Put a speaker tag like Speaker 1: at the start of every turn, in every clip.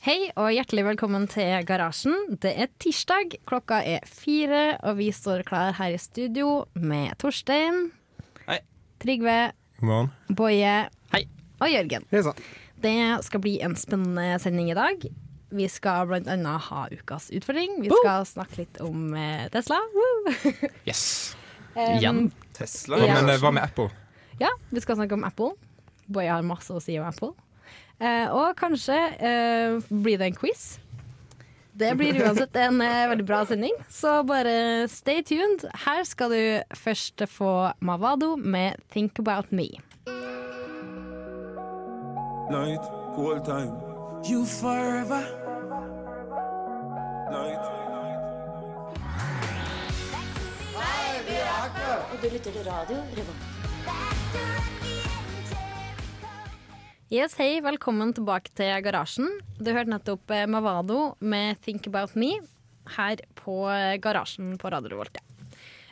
Speaker 1: Hei og hjertelig velkommen til Garasjen. Det er tirsdag, klokka er fire, og vi står klar her i studio med Torstein,
Speaker 2: Hei.
Speaker 1: Trygve,
Speaker 3: God morgen.
Speaker 1: Boje
Speaker 2: Hei.
Speaker 1: og Jørgen. Det skal bli en spennende sending i dag. Vi skal bl.a. ha ukas utfordring. Vi skal snakke litt om eh, Tesla. Woo!
Speaker 2: Yes.
Speaker 1: Um,
Speaker 2: Igjen.
Speaker 3: Tesla?
Speaker 1: Ja.
Speaker 3: Men eh, hva med Apple?
Speaker 1: Ja, vi skal snakke om Apple. Boje har masse å si om Apple. Eh, og kanskje eh, blir det en quiz. Det blir uansett en eh, veldig bra sending, så bare stay tuned. Her skal du først få Mavado med 'Think About Me'.
Speaker 4: Night, cold time. You forever. Night.
Speaker 5: Du lytter til radio Revolt.
Speaker 1: Yes, hei, velkommen tilbake til garasjen. Du hørte nettopp eh, Mavado med 'Think About Me' her på eh, garasjen på Radio Revolt. Ja.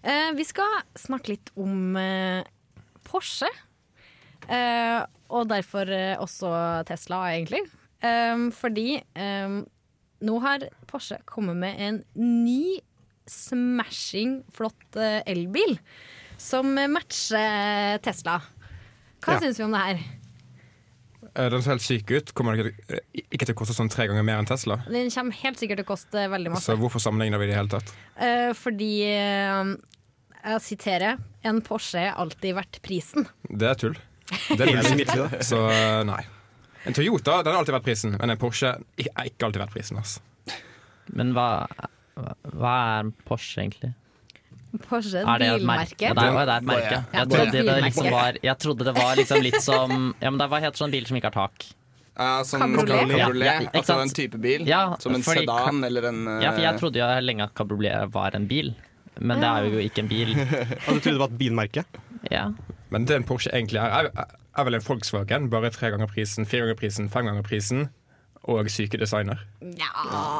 Speaker 1: Eh, vi skal snakke litt om eh, Porsche, eh, og derfor eh, også Tesla, egentlig. Eh, fordi eh, nå har Porsche kommet med en ny smashing flott eh, elbil som eh, matcher eh, Tesla. Hva
Speaker 3: Ja.
Speaker 1: syns vi om det her?
Speaker 3: Eh, Den ser helt syk ut. Kommer den ikke, til- eh, ikke til å koste sånn tre ganger mer enn Tesla.
Speaker 1: Den kommer helt sikkert til å koste veldig masse.
Speaker 3: Så hvorfor sammenligner vi det i hele tatt?
Speaker 1: Eh, fordi eh, Jeg siterer En Porsche er alltid verdt prisen.
Speaker 3: Det er tull. Det er bullshit. Så eh, nei. En Toyota den har alltid vært prisen, men en Porsche ik- er ikke alltid verdt prisen. Altså.
Speaker 2: Men hva, hva- hva er Porsche, egentlig?
Speaker 1: Porsche
Speaker 2: Er det et merke? Ja,
Speaker 1: bilmerke.
Speaker 2: det er, å, det er et merke.
Speaker 1: Ja,
Speaker 2: Jeg
Speaker 1: det er et
Speaker 2: trodde det liksom
Speaker 1: bilmerke.
Speaker 2: var, jeg trodde det var liksom litt som Ja, men det var helt sånn bil som ikke har tak.
Speaker 6: Eh, sånn
Speaker 1: Cabriolet?
Speaker 6: cabriolet.
Speaker 2: Ja, ja, ikke
Speaker 6: altså
Speaker 2: sant?
Speaker 6: en type bil.
Speaker 2: Ja,
Speaker 6: som en
Speaker 2: fordi
Speaker 6: sedan eller en eh,
Speaker 2: Ja, for jeg trodde jo lenge at cabriolet var en bil, men det er jo ikke en bil.
Speaker 7: Ja, du trodde det var et bilmerke?
Speaker 2: Ja.
Speaker 3: Men det en Porsche egentlig er, er, er vel en Volkswagen. Bare tre ganger prisen, fire ganger prisen, fem ganger prisen. Og syke designer.
Speaker 1: Ja,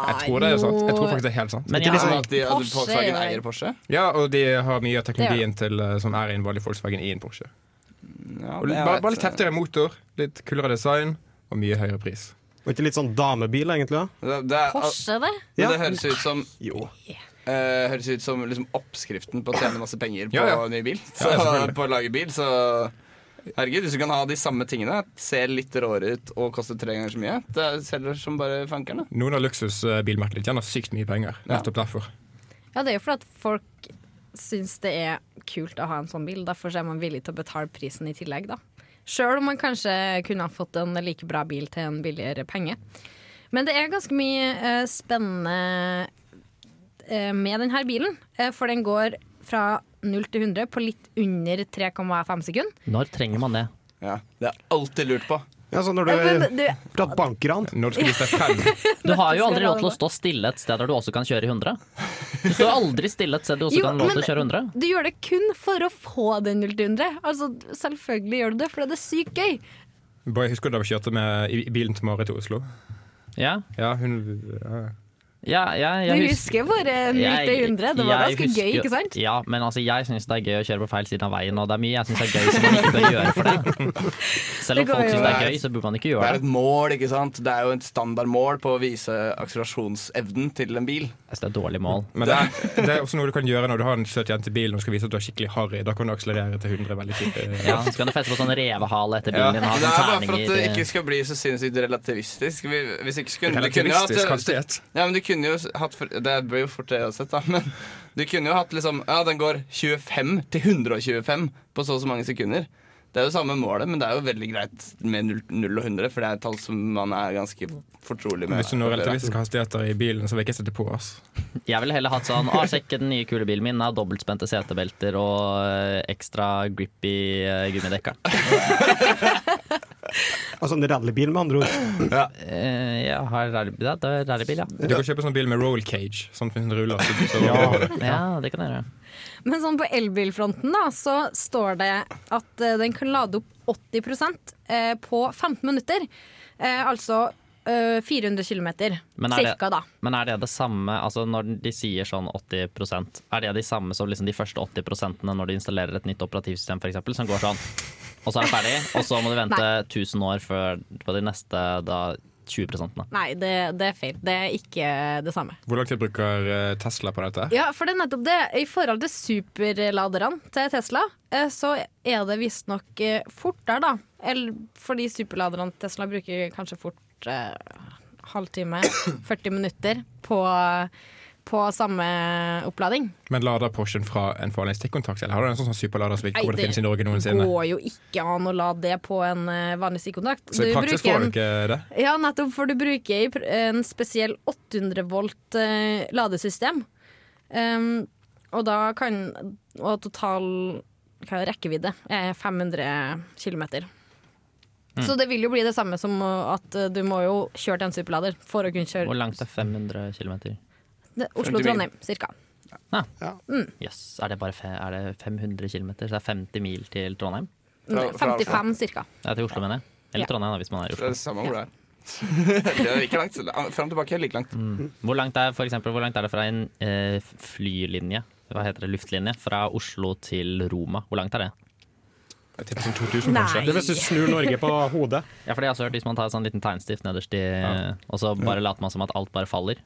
Speaker 3: Jeg tror det er sant. Jeg tror
Speaker 1: jo.
Speaker 3: faktisk det er helt sant.
Speaker 2: Men
Speaker 6: Ikke
Speaker 2: jeg,
Speaker 6: liksom at de, at
Speaker 1: Porsche,
Speaker 6: Volkswagen
Speaker 1: ja.
Speaker 6: eier Porsche?
Speaker 3: Ja, og de har mye av teknologien
Speaker 1: Det
Speaker 3: til, eh, som er i en vanlig Volkswagen i en Porsche.
Speaker 6: Ja,
Speaker 3: Og bare, bare litt
Speaker 2: eh,
Speaker 6: eh,
Speaker 3: heftigere motor, litt kulere design og mye høyere pris.
Speaker 7: Og ikke litt sånn damebil, egentlig? da?
Speaker 6: det, det, er-
Speaker 1: Porsche, det?
Speaker 6: men
Speaker 7: Ja.
Speaker 6: det høres ut som,
Speaker 7: Jo.
Speaker 6: eh, høres ut som liksom oppskriften på å tjene masse penger på
Speaker 3: Ja, ja.
Speaker 6: ny bil. Så,
Speaker 3: Ja, selvfølgelig.
Speaker 6: på å lage bil, så Herregud, hvis du kan ha de samme tingene, ser litt råere ut og koster tre ganger så mye, det selger som bare fankeren. da.
Speaker 3: Noen av luksusbilmerkene tjener sykt mye penger.
Speaker 6: Ja.
Speaker 3: Nettopp derfor.
Speaker 1: Ja, det er jo fordi at folk syns det er kult å ha en sånn bil. Derfor så er man villig til å betale prisen i tillegg, da. Sjøl om man kanskje kunne ha fått en like bra bil til en billigere penge. Men det er ganske mye eh, spennende eh, med denne bilen, eh, for den går fra 0 til 100 på litt under 3,5 sekunder.
Speaker 2: når trenger man det?
Speaker 6: Ja, det er alltid lurt på.
Speaker 7: Ja, sånn når
Speaker 1: Men,
Speaker 7: du
Speaker 1: du,
Speaker 7: tatt bankran.
Speaker 3: Når du skal vise deg frem,
Speaker 2: Du har jo
Speaker 1: skal
Speaker 2: aldri
Speaker 1: jeg
Speaker 2: lov til å
Speaker 1: love.
Speaker 2: stå stille et sted der du også kan kjøre i 100. Du står aldri stille et sted du også
Speaker 1: Jo,
Speaker 2: kan lov til
Speaker 1: men-
Speaker 2: å kjøre 100.
Speaker 1: Du gjør det kun for å få den 0 til 100. Altså, selvfølgelig gjør du det, for det er sykt gøy.
Speaker 3: Boy, jeg husker da vi kjørte med i i bilen til Marit til Oslo.
Speaker 2: Ja,
Speaker 3: Ja, hun ja.
Speaker 2: ja, ja
Speaker 1: Du
Speaker 2: jeg husker
Speaker 1: husker bare 0 til 100. Det var
Speaker 2: jeg
Speaker 1: ganske
Speaker 2: husker-
Speaker 1: gøy, ikke sant?
Speaker 2: Ja, men altså, jeg syns det er gøy å kjøre på feil siden av veien, og det er mye jeg syns er gøy som man ikke bør gjøre for det. Selv om
Speaker 1: Det går
Speaker 2: folk
Speaker 1: jo.
Speaker 2: syns det er gøy, så burde man ikke
Speaker 6: Det
Speaker 2: gjøre
Speaker 6: er
Speaker 2: det.
Speaker 6: et mål, ikke sant. Det er jo et standardmål på å vise akselerasjonsevnen til en bil.
Speaker 2: Jeg synes det er et dårlig mål.
Speaker 3: Men det er, det er også noe du kan gjøre når du har en søt jente i bilen og skal vise at du er skikkelig harry. Da kan du akselerere til 100 veldig kjipt. eh.
Speaker 2: Ja, så kan du feste på sånn revehale etter bilen din og ha
Speaker 6: Det er bare
Speaker 2: sånn
Speaker 6: for at det
Speaker 2: terninger.
Speaker 6: ikke skal bli så sinnssykt relativistisk. Vi- Hvis ikke skulle, du kunne jo hatt, eh,
Speaker 3: Relativistisk hastighet.
Speaker 6: ja, men du kunne jo hatt for- Det blir jo fort det uansett, da. Men du kunne jo hatt liksom Ja, den går 25 til 125 på så og så mange sekunder. Det er jo samme målet, men det er jo veldig greit med 0, og 100, for det er et tall som man er ganske fortrolig med.
Speaker 3: Hvis du når relativistiske hastigheter i bilen, så vil jeg ikke sitte på. ass.
Speaker 2: Jeg ville heller hatt sånn Å, sjekk den nye kule bilen min. Den har dobbeltspente setebelter og eh, ekstra grippy eh, gummidekker.
Speaker 7: Altså en rallybil, med andre ord.
Speaker 2: Eh, Jeg har rally- ja, det er rallybil, ja.
Speaker 3: Du kan kjøpe sånn bil med roll cage. Sånn at den ruller. Så, så,
Speaker 2: Ja, det kan jeg gjøre.
Speaker 1: Men sånn på elbilfronten da, så står det at eh, den kan lade opp 80 eh, på 15 minutter. Eh, altså eh, 400 km.
Speaker 2: Men er det-
Speaker 1: Cirka, da.
Speaker 2: Men er det det samme, altså når de sier sånn 80 er det de samme som liksom de første 80 når de installerer et nytt operativsystem for eksempel, som går sånn, og så er det ferdig, og så må du vente 1000 år før på de neste da 20 da.
Speaker 1: Nei, det, det er feil. Det er ikke det samme.
Speaker 3: Hvor lang tid bruker eh, Tesla på dette?
Speaker 1: Ja, for det er nettopp det. I forhold til superladerne til Tesla, eh, så er det visstnok eh, fortere, da. Eller fordi superladerne til Tesla bruker kanskje fort eh, halvtime, 40 minutter på, på samme opplading.
Speaker 3: Men lader Porschen fra en vanlig stikkontakt? Eller har du en sånn, sånn superlader som vi
Speaker 1: Nei,
Speaker 3: ikke kommer til å
Speaker 1: det
Speaker 3: finnes i Norge noensinne?
Speaker 1: Går jo ikke an å la det på en eh, vanlig stikkontakt.
Speaker 3: Så i
Speaker 1: Du
Speaker 3: praksis
Speaker 1: bruker
Speaker 3: får du
Speaker 1: en-
Speaker 3: ikke det?
Speaker 1: Ja, nettopp, for du bruker i pr- en spesiell 800 volt eh, ladesystem. Um, og da kan Og total hva er det, rekkevidde er 500 km.
Speaker 3: Mm.
Speaker 1: Så det vil jo bli det samme som å- at eh, du må jo kjøre til en superlader for å kunne kjøre
Speaker 2: Hvor langt er 500 km?
Speaker 1: Det-
Speaker 6: 40 mil.
Speaker 1: Oslo-Trondheim, cirka.
Speaker 2: Jøss, er det bare fe er det 500 km? Så det er 50 mil til Trondheim?
Speaker 6: Fra-
Speaker 1: Mm,
Speaker 6: fra Oslo.
Speaker 1: 55 cirka.
Speaker 2: Ja, til Oslo, mener jeg.
Speaker 1: Ja.
Speaker 2: Eller Trondheim, da, hvis man er i
Speaker 6: Det er
Speaker 2: Oslo.
Speaker 6: det samme hvor det er. Det er ikke langt. Fram og tilbake er like langt.
Speaker 3: Mm.
Speaker 2: Hvor langt er, for eksempel, hvor langt er det fra en eh, flylinje, hva heter det, luftlinje, fra Oslo til Roma? Hvor langt er det?
Speaker 3: Jeg tipper sånn 2000, kanskje.
Speaker 7: Det er hvis du snur Norge på hodet.
Speaker 2: Ja, for det jeg har også hørt, Hvis man tar en sånn liten tegnstift nederst i, og så bare later man som at alt bare faller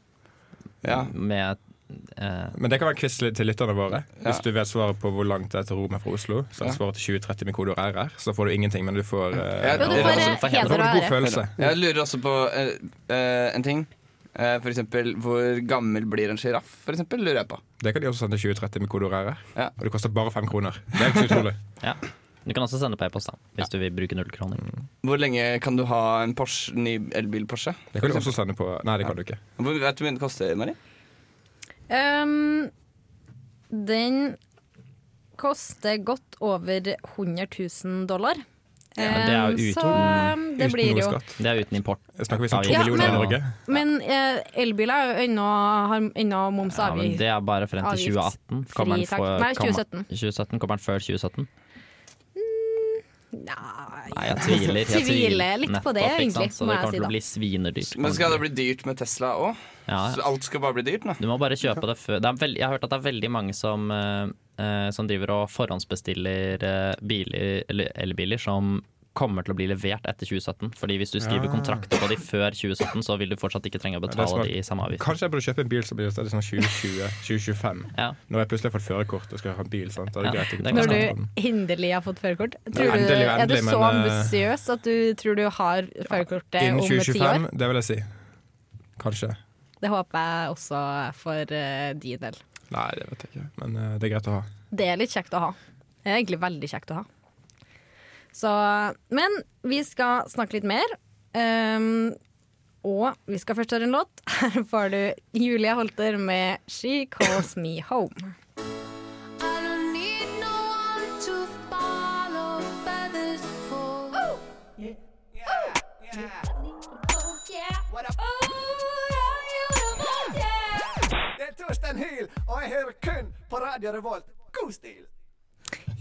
Speaker 6: Ja.
Speaker 2: med eh,
Speaker 3: Men det kan være quiz til til lytterne våre. Hvis
Speaker 6: Ja.
Speaker 3: du vet svaret på hvor langt det er til Roma fra Oslo, så er det svaret til 2030 med kode RR, så får du ingenting, men du får eh,
Speaker 1: Jo,
Speaker 6: Ja,
Speaker 1: du
Speaker 6: det-
Speaker 1: får
Speaker 6: altså,
Speaker 1: eh,
Speaker 2: for
Speaker 3: Da
Speaker 2: heder
Speaker 1: heder og
Speaker 3: får du en god
Speaker 1: ære.
Speaker 3: følelse.
Speaker 6: Jeg lurer også på eh, eh, en ting. Eh, for eksempel, hvor gammel blir en sjiraff? Lurer jeg på.
Speaker 3: Det kan de også sende til 2030 med kode RR.
Speaker 6: Ja.
Speaker 3: Og det koster bare fem kroner. Det er ikke så utrolig.
Speaker 2: Ja. Du kan også sende på e-post da, hvis du vil bruke null kroner.
Speaker 6: Hvor lenge kan du ha en Porsche, ny elbil Porsche?
Speaker 3: Det kan du også sende på Nei, det kan du ikke.
Speaker 6: Hvor, vet du hvor mye det koster, Mari?
Speaker 1: Um, den koster godt over 100 000 dollar.
Speaker 2: men det er jo
Speaker 1: Um,
Speaker 2: uten-
Speaker 1: så um, det
Speaker 3: Uten
Speaker 1: blir
Speaker 3: noe
Speaker 1: jo
Speaker 3: skatt.
Speaker 2: Det er uten import.
Speaker 3: Snakker vi sånn to
Speaker 2: Ja,
Speaker 3: millioner
Speaker 1: men-
Speaker 3: i Norge?
Speaker 1: Men eh, elbiler er jo ennå, har ennå moms og
Speaker 2: Ja, men
Speaker 1: avgift.
Speaker 2: det er bare frem til
Speaker 1: Avgift.
Speaker 2: 2018. Kommer den
Speaker 1: Fritak.
Speaker 2: for-
Speaker 1: Nei,
Speaker 2: kommer-
Speaker 1: 2017.
Speaker 2: 2017. Kommer den før 2017? Nei, jeg
Speaker 1: Nei.
Speaker 2: tviler. Jeg
Speaker 1: Tviler litt på det,
Speaker 2: ikke sant?
Speaker 1: egentlig,
Speaker 2: Så
Speaker 1: må
Speaker 2: det
Speaker 1: jeg si
Speaker 2: kommer til
Speaker 1: da.
Speaker 2: å bli svinedyrt.
Speaker 6: Men skal det bli dyrt med Tesla òg?
Speaker 2: Ja, ja.
Speaker 6: Så alt skal bare bli dyrt nå?
Speaker 2: Du må bare kjøpe det før det er veld, Jeg har hørt at det er veldig mange som, eh, eh, som driver og forhåndsbestiller eh, biler, eller elbiler som kommer til å bli levert etter 2017. Fordi hvis du skriver kontrakter på de før 2017, så vil du fortsatt ikke trenge å
Speaker 3: det er
Speaker 2: betale
Speaker 3: smart.
Speaker 2: de i samme avgift.
Speaker 3: Kanskje jeg burde kjøpe en bil som blir sånn 2020-2025.
Speaker 2: Ja.
Speaker 3: Når jeg plutselig har fått førerkort og skal ha en bil. Sant? Da er
Speaker 2: Ja,
Speaker 3: det greit. å
Speaker 2: det
Speaker 3: kunne
Speaker 2: kan
Speaker 1: Når
Speaker 3: ta
Speaker 1: du
Speaker 3: standarden.
Speaker 1: endelig har fått førerkort.
Speaker 3: Nei,
Speaker 1: Tror du-
Speaker 3: endelig og
Speaker 1: Er du
Speaker 3: endelig,
Speaker 1: så
Speaker 3: men, eh,
Speaker 1: ambisiøs at du tror du har førerkortet om
Speaker 3: Innen
Speaker 1: ti år?
Speaker 3: 2025, det vil jeg si. Kanskje.
Speaker 1: Det håper jeg også for eh, din del.
Speaker 3: Nei, det vet jeg ikke. Men eh, det er greit å ha.
Speaker 1: Det er litt kjekt å ha. Det er egentlig veldig kjekt å ha. Så, men vi skal snakke litt mer. Ehm, og vi skal først høre en låt. Her får du Julia Holter med 'She Calls Me Home'.
Speaker 8: Det er Torstein Hyl, og jeg hører kun på Radio Revolt. God stil!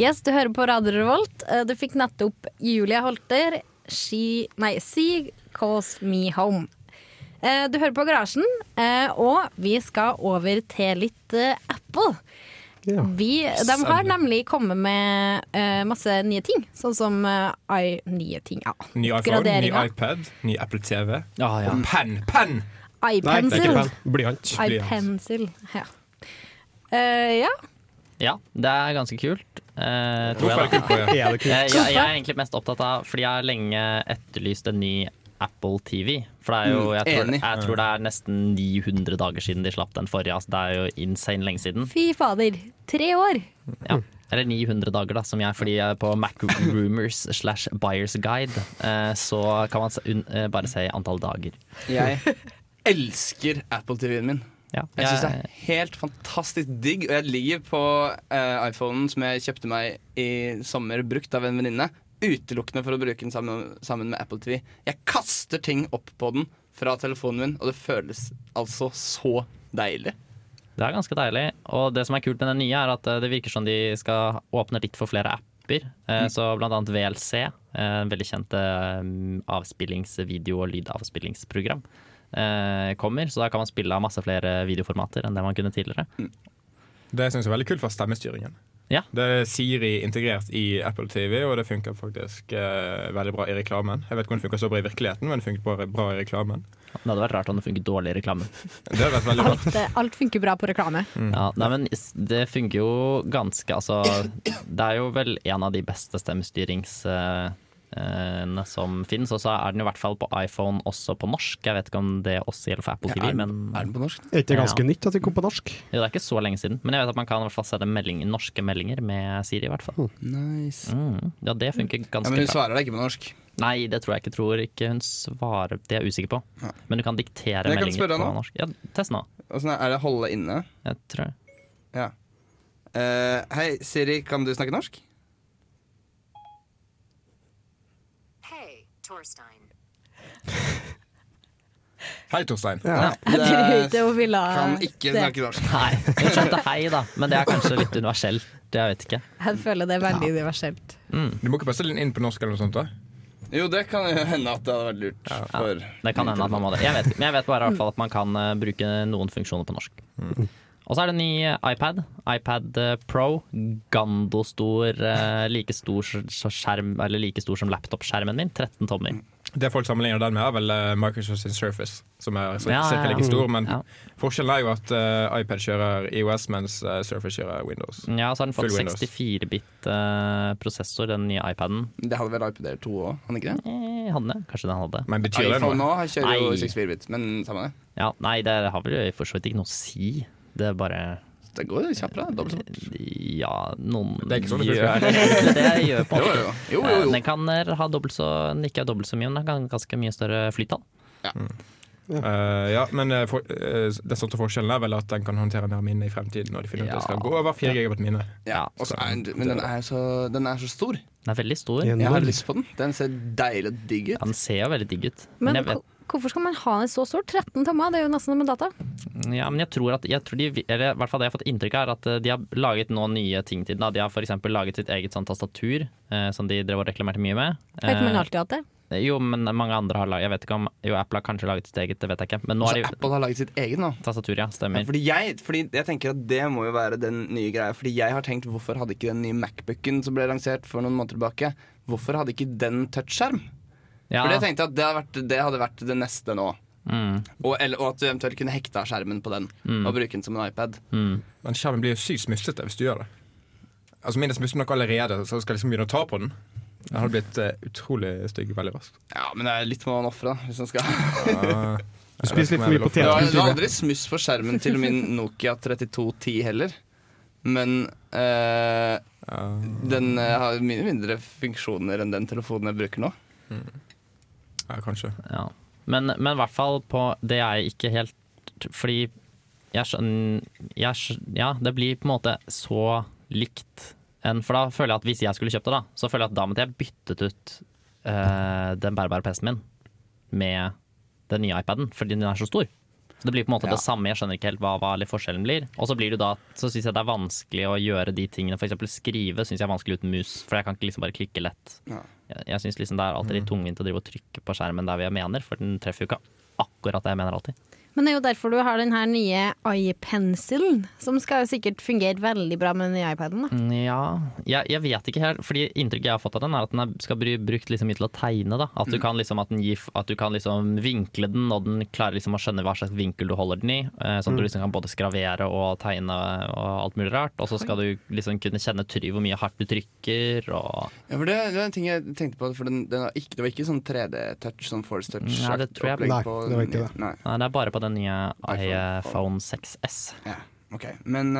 Speaker 1: Yes, du hører på Radio Revolt. Eh, Du fikk nettopp Julia Holter, 'She Nei, 'She Calls Me Home'. Eh, Du hører på Garasjen, eh, og vi skal over til litt eh, Apple.
Speaker 7: Ja.
Speaker 1: Vi, de har nemlig kommet med eh, masse nye ting, sånn som eh, i, nye ting, ja.
Speaker 3: Ny iPhone, ny
Speaker 1: Graderinger.
Speaker 3: iPad, ny Apple TV.
Speaker 2: Ja, ja.
Speaker 3: Og penn! Penn!
Speaker 7: Nei, det er
Speaker 1: iPencil.
Speaker 7: ikke pen. Blyant.
Speaker 1: iPencil, ja. Eh, ja.
Speaker 2: ja, det er ganske kult. Eh, tror
Speaker 3: Hvorfor
Speaker 2: jeg, da.
Speaker 3: er det kult på det?
Speaker 7: Er det
Speaker 2: Eh,
Speaker 7: kult?
Speaker 2: jeg, jeg er egentlig mest opptatt av Fordi jeg har lenge etterlyst en ny Apple TV. For det er jo, jeg tror,
Speaker 6: Mm, enig.
Speaker 2: jeg tror det er nesten 900 dager siden de slapp den forrige. Altså, det er jo insane lenge siden.
Speaker 1: Fy fader. Tre år.
Speaker 2: Ja. Eller 900 dager, da, som jeg, fordi jeg er på Mac Rumors slash Buyers Guide. eh, Så kan man se- un- eh, bare se antall dager.
Speaker 6: Jeg elsker Apple TV-en min.
Speaker 2: Ja.
Speaker 6: Jeg syns det
Speaker 2: jeg-
Speaker 6: er helt fantastisk digg, og jeg ligger på eh, iPhonen som jeg kjøpte meg i sommer, brukt av en venninne, utelukkende for å bruke den sammen, sammen med Apple TV. Jeg kaster ting opp på den fra telefonen min, og det føles altså så deilig.
Speaker 2: Det er ganske deilig. Og det som er kult med den nye, er at eh, det virker som de skal åpne litt for flere apper. Eh, Så blant annet VLC, eh, en veldig kjent eh, avspillingsvideo- og lydavspillingsprogram, eh, kommer. Så da kan man spille av masse flere videoformater enn det man kunne tidligere.
Speaker 3: Det syns jeg er veldig kult for stemmestyringen.
Speaker 2: Ja.
Speaker 3: Det er Siri integrert i Apple TV, og det funker faktisk eh, veldig bra i reklamen. Jeg vet ikke om det funker så bra i virkeligheten, men det funker bra, bra i reklamen.
Speaker 2: Det hadde vært rart om det funket dårlig i reklame.
Speaker 3: Det har vært veldig bra.
Speaker 9: Alt, eh, alt funker bra på reklame.
Speaker 6: Mm.
Speaker 2: Ja, nei, men s- det funker jo ganske Altså, det er jo vel en av de beste stemmestyringsene som finnes. Og så er den jo i hvert fall på iPhone også på norsk. Jeg vet ikke om det også gjelder for Apple TV, men
Speaker 6: Er den på norsk?
Speaker 7: Er ikke det
Speaker 2: Ja.
Speaker 7: ganske nytt at de kom på norsk?
Speaker 2: jo, det er ikke så lenge siden. Men jeg vet at man kan i hvert fall sende melding, norske meldinger med Siri, i hvert fall.
Speaker 6: Nice.
Speaker 2: Mm. Ja, det funker
Speaker 6: Ja,
Speaker 2: ganske
Speaker 6: men hun
Speaker 2: bra.
Speaker 6: svarer deg ikke på norsk.
Speaker 2: Nei, det tror jeg ikke. Tror ikke hun svarer Det er jeg usikker på. Men du kan diktere
Speaker 6: Men jeg kan
Speaker 2: meldinger
Speaker 6: spørre
Speaker 2: på
Speaker 6: henne.
Speaker 2: norsk. Ja, test nå.
Speaker 6: Åssen er det holde inne?
Speaker 2: Jeg tror
Speaker 6: Ja. Eh, hei, Siri, kan du snakke norsk?
Speaker 3: Hei, Torstein.
Speaker 6: Ja.
Speaker 9: Jeg tror ikke hun ville ha
Speaker 6: Kan ikke
Speaker 9: det.
Speaker 6: snakke norsk.
Speaker 2: Nei, hun skjønte hei, da. Men det er kanskje litt universelt. Jeg vet ikke.
Speaker 9: Jeg føler det er veldig universelt.
Speaker 3: Du må ikke bestille den inn på norsk eller noe sånt? da?
Speaker 6: Jo, det kan jo hende at det hadde vært lurt. For
Speaker 2: Det kan hende at man må det. Jeg vet, ikke, men jeg vet bare i hvert fall at man kan eh, bruke noen funksjoner på norsk.
Speaker 3: Mm.
Speaker 2: Og så er det en ny eh, iPad. iPad eh, Pro. Gandostor. eh, Like stor s- s- skjerm Eller like stor som laptop-skjermen min. 13 tommer.
Speaker 3: Det folk sammenligner den med, er vel eh, Microsoft sin Surface, som er ca.
Speaker 2: Ja, ja, ja. Mm.
Speaker 3: like stor, men
Speaker 2: Ja.
Speaker 3: forskjellen er jo at eh, iPad kjører EOS, mens eh, Surface kjører Windows.
Speaker 2: Ja, og så har den fått
Speaker 3: Full Windows.
Speaker 2: 64-bit eh, prosessor, den nye iPaden.
Speaker 6: det hadde vel iPad Air 2 òg, hadde den ikke det?
Speaker 2: Eh, hadde den? Kanskje den hadde.
Speaker 3: Men betyr det
Speaker 6: iPhone
Speaker 3: noe?
Speaker 6: nå kjører jo
Speaker 2: Nei.
Speaker 6: 64-bit, men samme det.
Speaker 2: Ja, nei, det har vel i for så vidt ikke noe å si. Det er bare
Speaker 6: Det går jo kjappere. Dobbelt så fort.
Speaker 2: Ja, noen
Speaker 3: Det er ikke sånn det
Speaker 2: gjør det. egentlig, Det gjør på
Speaker 6: Jo,
Speaker 2: en
Speaker 6: jo,
Speaker 2: måte.
Speaker 6: jo. jo, jo,
Speaker 2: Den kan eh, ha dobbelt så, den ikke er dobbelt så mye, men den kan ha ganske mye større flytall.
Speaker 3: Eh, ja, men eh, for, eh, den største forskjellen er vel at den kan håndtere mer minne i fremtiden. Når de finner ut at det skal
Speaker 2: Ja.
Speaker 3: gå over 4 GB minne.
Speaker 6: Ja, og så er den- men den er, så, den er så stor.
Speaker 2: Den er veldig stor.
Speaker 7: I en
Speaker 2: Ja,
Speaker 6: Jeg har
Speaker 7: Norge.
Speaker 6: lyst på den. Den ser deilig og digg ut.
Speaker 2: den ser jo veldig digg ut. Men,
Speaker 1: Men
Speaker 2: jeg, vet,
Speaker 1: ko- hvorfor skal man ha en så stor? 13 tommer, det er jo nesten som en data.
Speaker 2: ja, men jeg tror at jeg tror de, eller i hvert fall det jeg har fått inntrykk av, er at eh, de har laget noen nye ting til den. da. De har f.eks. laget sitt eget sånn tastatur, eh, som de drev og reklamerte mye med.
Speaker 1: Har ikke man
Speaker 2: Eh,
Speaker 1: alltid hatt det?
Speaker 2: Jo, men mange andre har laget Jeg vet ikke om Jo, Apple har kanskje laget sitt eget, det vet jeg ikke. Men nå
Speaker 6: Så
Speaker 2: har de
Speaker 6: Altså, Apple har laget sitt eget nå.
Speaker 2: tastatur, ja.
Speaker 6: Ja,
Speaker 2: Stemmer.
Speaker 6: fordi, jeg, fordi jeg tenker at det må jo være den nye greia. Fordi jeg har tenkt hvorfor hadde ikke den nye Macbooken som ble lansert for noen måneder tilbake, hvorfor hadde ikke den touchskjerm?
Speaker 2: Ja,
Speaker 6: Fordi jeg tenkte at det hadde vært det, hadde vært det neste nå. Og, eller, og at du eventuelt kunne hekta skjermen på den og bruke den som en iPad.
Speaker 3: Men skjermen blir jo sykt smussete hvis du gjør det. Altså Min er smussete nok allerede, så skal jeg liksom begynne å ta på den. Den hadde blitt eh, utrolig stygg veldig raskt.
Speaker 6: Ja, men det er litt må man ofre, da. Hvis man skal.
Speaker 3: Uh,
Speaker 7: Du spiser litt for mye
Speaker 6: Det
Speaker 7: potet.
Speaker 6: var, det var
Speaker 7: Kultur.
Speaker 6: aldri smuss på skjermen til min Nokia 3210 heller. Men eh, den eh, har mye mindre funksjoner enn den telefonen jeg bruker nå.
Speaker 3: ja, kanskje.
Speaker 2: ja. Men, men i hvert fall på det jeg ikke helt Fordi jeg skjønner jeg skjøn- Ja, det blir på en måte så likt en For da føler jeg at hvis jeg skulle kjøpt det, da, så føler jeg at da måtte jeg byttet ut eh, den bærbare PC-en min med den nye iPaden, fordi den er så stor. Så det blir på en måte
Speaker 6: Ja.
Speaker 2: det samme, jeg skjønner ikke helt hva, hva eller forskjellen blir. Og så blir det da, så syns jeg det er vanskelig å gjøre de tingene, f.eks. skrive syns jeg er vanskelig uten mus, for jeg kan ikke liksom bare klikke lett.
Speaker 6: Ja.
Speaker 2: Jeg, jeg syns liksom det er alltid litt tungvint å drive og trykke på skjermen der hvor jeg mener, for den treffer jo ikke akkurat det jeg mener alltid.
Speaker 1: Men det er jo derfor du har den her nye iPencilen, som skal jo sikkert fungere veldig bra med den nye iPaden. Da.
Speaker 2: Mm, Ja, jeg, jeg vet ikke helt, fordi inntrykket jeg har fått av den er at den er, skal bli brukt liksom mye til å tegne. da. At du kan liksom, at den gir, at du kan liksom vinkle den, og den klarer liksom å skjønne hva slags vinkel du holder den i. eh, Sånn at du liksom kan både skravere og tegne og alt mulig rart. Og så skal du liksom kunne kjenne try hvor mye hardt du trykker. og...
Speaker 6: Ja, for det, det var en ting jeg tenkte på, for den, den var ikke, det var ikke sånn 3D-touch, sånn Force Touch.
Speaker 2: Nei, det tror jeg-
Speaker 6: opplegg
Speaker 7: Nei,
Speaker 6: på
Speaker 7: det var ikke
Speaker 6: den-
Speaker 7: det.
Speaker 6: Nei,
Speaker 2: Nei, det er bare på den nye
Speaker 6: iPhone.
Speaker 2: iPhone 6S.
Speaker 6: ja, ok. Men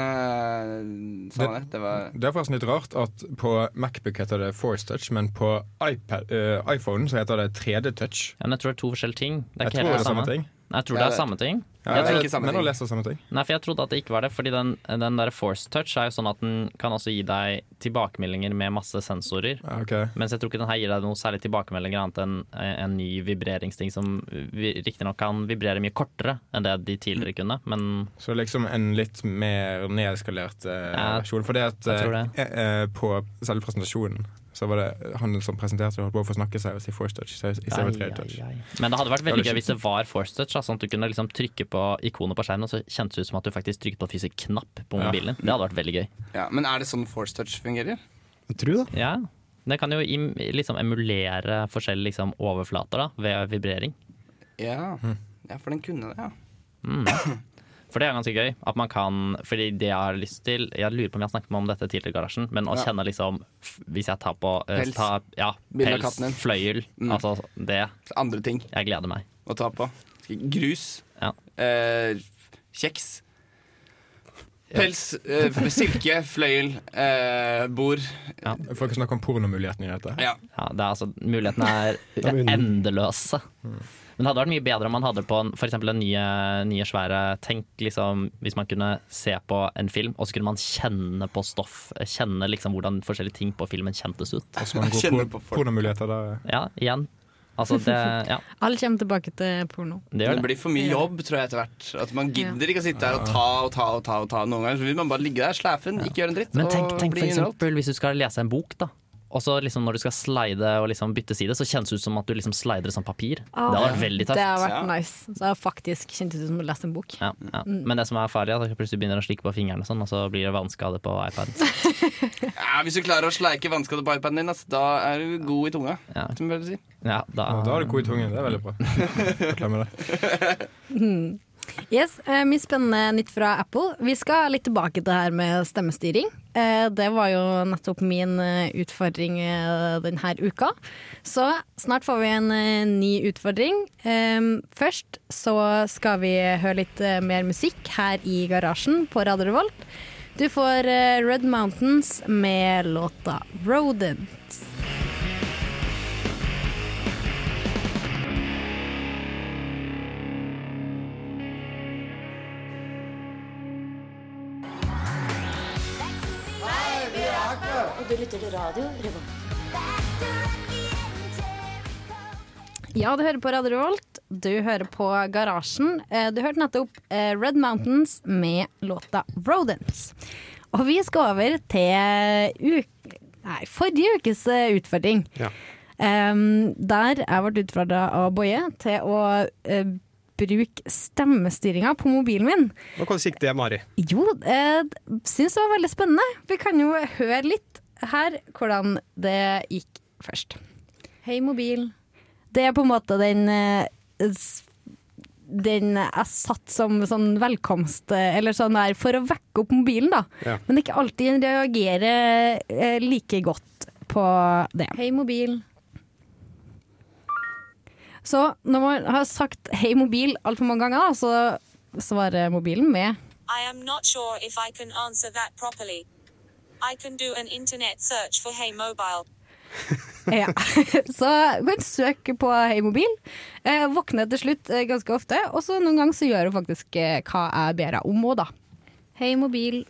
Speaker 6: uh, samme det, det var
Speaker 3: Det er forresten litt rart at på Macbook heter det Force Touch, men på iPad, eh, iPhone så heter det 3D Touch.
Speaker 2: Ja, men jeg tror det er to forskjellige ting. Det er
Speaker 3: Jeg
Speaker 2: ikke
Speaker 3: tror det
Speaker 2: helt
Speaker 3: er
Speaker 2: det
Speaker 3: samme
Speaker 2: samme.
Speaker 3: ting.
Speaker 2: Nei, Jeg tror
Speaker 6: Ja,
Speaker 2: det er
Speaker 6: det-
Speaker 2: samme ting.
Speaker 3: Ja,
Speaker 6: Jeg tror
Speaker 3: jeg-
Speaker 6: ikke samme
Speaker 3: men
Speaker 6: ting.
Speaker 3: jeg leser samme ting.
Speaker 2: Nei, for jeg trodde at det ikke var det. Fordi den, den der force touch er jo sånn at den kan også gi deg tilbakemeldinger med masse sensorer.
Speaker 3: Ja, ok.
Speaker 2: Mens jeg tror ikke den her gir deg noe særlig tilbakemeldinger annet enn eh, en ny vibreringsting som riktignok kan vibrere mye kortere enn det de tidligere kunne, men
Speaker 3: Så liksom en litt mer nedskalert eh,
Speaker 2: Ja,
Speaker 3: versjon. For det at
Speaker 2: jeg tror
Speaker 3: eh, eh, på selve presentasjonen Så var det han som presenterte det, holdt på å forsnakke seg og si force touch. Så jeg- i stedet for tredje touch.
Speaker 2: Men det hadde vært
Speaker 3: Det
Speaker 2: veldig gøy
Speaker 3: var litt
Speaker 2: hvis det var force touch. da, Sånn at du kunne liksom trykke på ikonet på skjermen, og så kjentes det ut som at du faktisk trykket på en fysisk knapp på
Speaker 3: Ja.
Speaker 2: mobilen. Det hadde vært veldig gøy.
Speaker 6: Ja, men er det sånn force touch fungerer?
Speaker 7: Jeg tror det.
Speaker 2: Ja. Det kan jo im liksom emulere forskjellige liksom overflater da, ved vibrering.
Speaker 6: Ja. ja, for den kunne det, ja.
Speaker 2: For det er ganske gøy. at man kan, fordi det Jeg har lyst til, jeg lurer på om jeg har snakket med om dette tidligere i garasjen, men å
Speaker 6: Ja.
Speaker 2: kjenne liksom f- Hvis jeg tar på eh,
Speaker 6: Pels.
Speaker 2: tar- ja,
Speaker 6: Bilde av
Speaker 2: pels
Speaker 6: katten din.
Speaker 2: fløyel,
Speaker 6: Mm.
Speaker 2: altså det.
Speaker 6: Så Andre ting
Speaker 2: Jeg gleder meg.
Speaker 6: å ta på. Grus.
Speaker 2: Ja.
Speaker 6: Eh, kjeks. Pels, eh, silke, fløyel, eh, bord.
Speaker 3: Folk snakker om pornomulighetene i dette.
Speaker 6: Ja.
Speaker 2: Ja, det er altså, mulighetene er,
Speaker 7: er
Speaker 2: er
Speaker 7: under.
Speaker 2: endeløse. Men det hadde vært mye bedre om man hadde på en, for eksempel den nye, nye svære Tenk liksom, hvis man kunne se på en film, og så kunne man kjenne på stoff. Kjenne liksom hvordan forskjellige ting på filmen kjentes ut.
Speaker 3: Og så mange
Speaker 6: Kjenner
Speaker 3: gode
Speaker 6: på
Speaker 3: por-
Speaker 6: folk.
Speaker 3: pornomuligheter der.
Speaker 2: Ja, igjen. Altså, det, ja,
Speaker 1: Alle kommer tilbake til porno.
Speaker 2: det
Speaker 6: Det
Speaker 2: gjør det.
Speaker 6: blir for mye jobb tror jeg etter hvert. At Man gidder ikke å sitte her og ta og ta og ta. og ta Noen ganger så vil man bare ligge der, slæfe den, ikke gjøre en dritt.
Speaker 2: Men tenk,
Speaker 6: og
Speaker 2: tenk
Speaker 6: bli
Speaker 2: for
Speaker 6: underholdt.
Speaker 2: eksempel hvis du skal lese en bok, da. Og så liksom når du skal slide og liksom bytte side, så kjennes det ut som at du liksom slider som papir. det
Speaker 6: Ah,
Speaker 2: hadde vært veldig
Speaker 1: Det
Speaker 2: tøft.
Speaker 1: har vært
Speaker 6: Ja.
Speaker 1: nice. Så jeg har faktisk kjent det ut som å lese en bok.
Speaker 2: Ja, ja.
Speaker 6: Mm.
Speaker 2: Men det som er farlig, er at du plutselig begynner å slikke på fingeren, og sånn, og så blir det vannskade på iPad.
Speaker 6: Ja, hvis du klarer å sleike vannskadet på iPaden din, ass, da er du god i tunga.
Speaker 2: Ja.
Speaker 6: Som jeg vil si.
Speaker 2: Ja, da,
Speaker 3: Ja, Da har du god i tungen. Det er veldig bra. Jeg glemmer det.
Speaker 1: Yes, eh, Mye spennende nytt fra Apple. Vi skal litt tilbake til det her med stemmestyring. Eh, det var jo nettopp min eh, utfordring eh, denne uka. Så snart får vi en eh, ny utfordring. Eh, først så skal vi høre litt eh, mer musikk her i garasjen på Radio Revolt. Du får eh, Red Mountains med låta 'Rodent'.
Speaker 10: Og du lytter til radio Revolt.
Speaker 1: Ja, du hører på Radio Revolt. Du hører på Garasjen. Eh, Du hørte nettopp eh, Red Mountains med låta 'Rodents'. Og vi skal over til uk nei, forrige ukes eh, utfordring.
Speaker 7: Ja.
Speaker 1: Em, der jeg ble utfordra av Boje til å eh, bruke stemmestyringa på mobilen min.
Speaker 7: Nå kan du sikte det, Mari.
Speaker 1: Jo, jeg syns det var veldig spennende. Vi kan jo høre litt her hvordan det gikk først. Hei, mobil. Det er på en måte den eh, s- den jeg satt som sånn velkomst eh, eller sånn der, for å vekke opp mobilen, da.
Speaker 7: Ja.
Speaker 1: Men det er ikke alltid den reagerer eh, like godt på det. Hei, mobil. Så når man har sagt 'hei, mobil' altfor mange ganger, da, så svarer mobilen med
Speaker 11: I am not sure if I can answer that properly. I can do an internet search for Hey Mobile.
Speaker 1: Ja. Så du kan søke på Hei mobil. Eh, våkner til slutt eh, ganske ofte, og så noen ganger så gjør hun faktisk eh, hva jeg ber henne om òg, da. Hei mobil.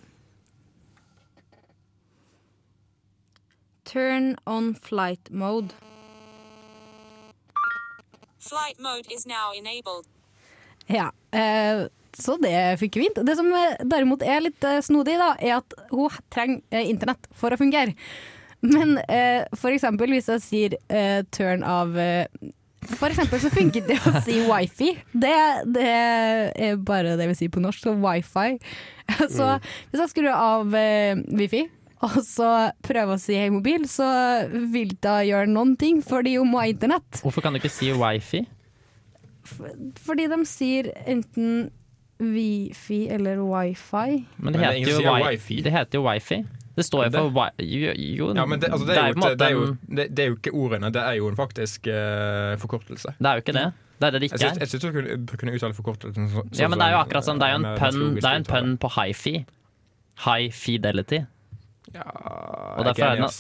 Speaker 1: Turn on flight mode.
Speaker 11: Flight mode is now enabled.
Speaker 1: Ja, eh, så det fikk vi fint. Det som eh, derimot er litt eh, snodig, da, er at hun trenger eh, internett for å fungere. Men eh, for eksempel hvis jeg sier eh, turn av eh, For eksempel så funker det å si wifi. Det, det er bare det vi sier på norsk, så wifi. Så hvis jeg skrur av eh, wifi og så prøver å si hei mobil, så vil da gjøre noen ting, fordi hun må ha internett.
Speaker 2: Hvorfor kan du ikke si wifi?
Speaker 1: Fordi de sier enten wifi eller wifi.
Speaker 2: Men det,
Speaker 3: Men det er
Speaker 2: heter,
Speaker 3: ingen
Speaker 2: jo
Speaker 3: som sier
Speaker 2: wi-
Speaker 3: wifi.
Speaker 2: det heter jo wifi. Det står jo
Speaker 3: Det-
Speaker 2: for wi... Jo, jo
Speaker 3: Ja, men det, altså, det,
Speaker 2: det
Speaker 3: er
Speaker 2: på
Speaker 3: jo,
Speaker 2: en
Speaker 3: ikke- det, er jo,
Speaker 2: en-
Speaker 3: det, det er jo ikke ordene, det er jo en faktisk eh, forkortelse.
Speaker 2: det er jo ikke det. Det er det det
Speaker 3: Jeg
Speaker 2: ikke
Speaker 3: syns-
Speaker 2: er.
Speaker 3: jeg syns du kunne, kunne uttale forkortelsen så, sånn, eh,
Speaker 2: Ja, men det er jo akkurat som det er jo en
Speaker 3: med- med
Speaker 2: pønn,
Speaker 3: logisk
Speaker 2: det er en
Speaker 3: uttale.
Speaker 2: pønn på hifi. High fidelity.
Speaker 3: Ja,
Speaker 2: Og
Speaker 3: jeg
Speaker 2: derfor er
Speaker 3: enig,
Speaker 2: den-
Speaker 3: ass.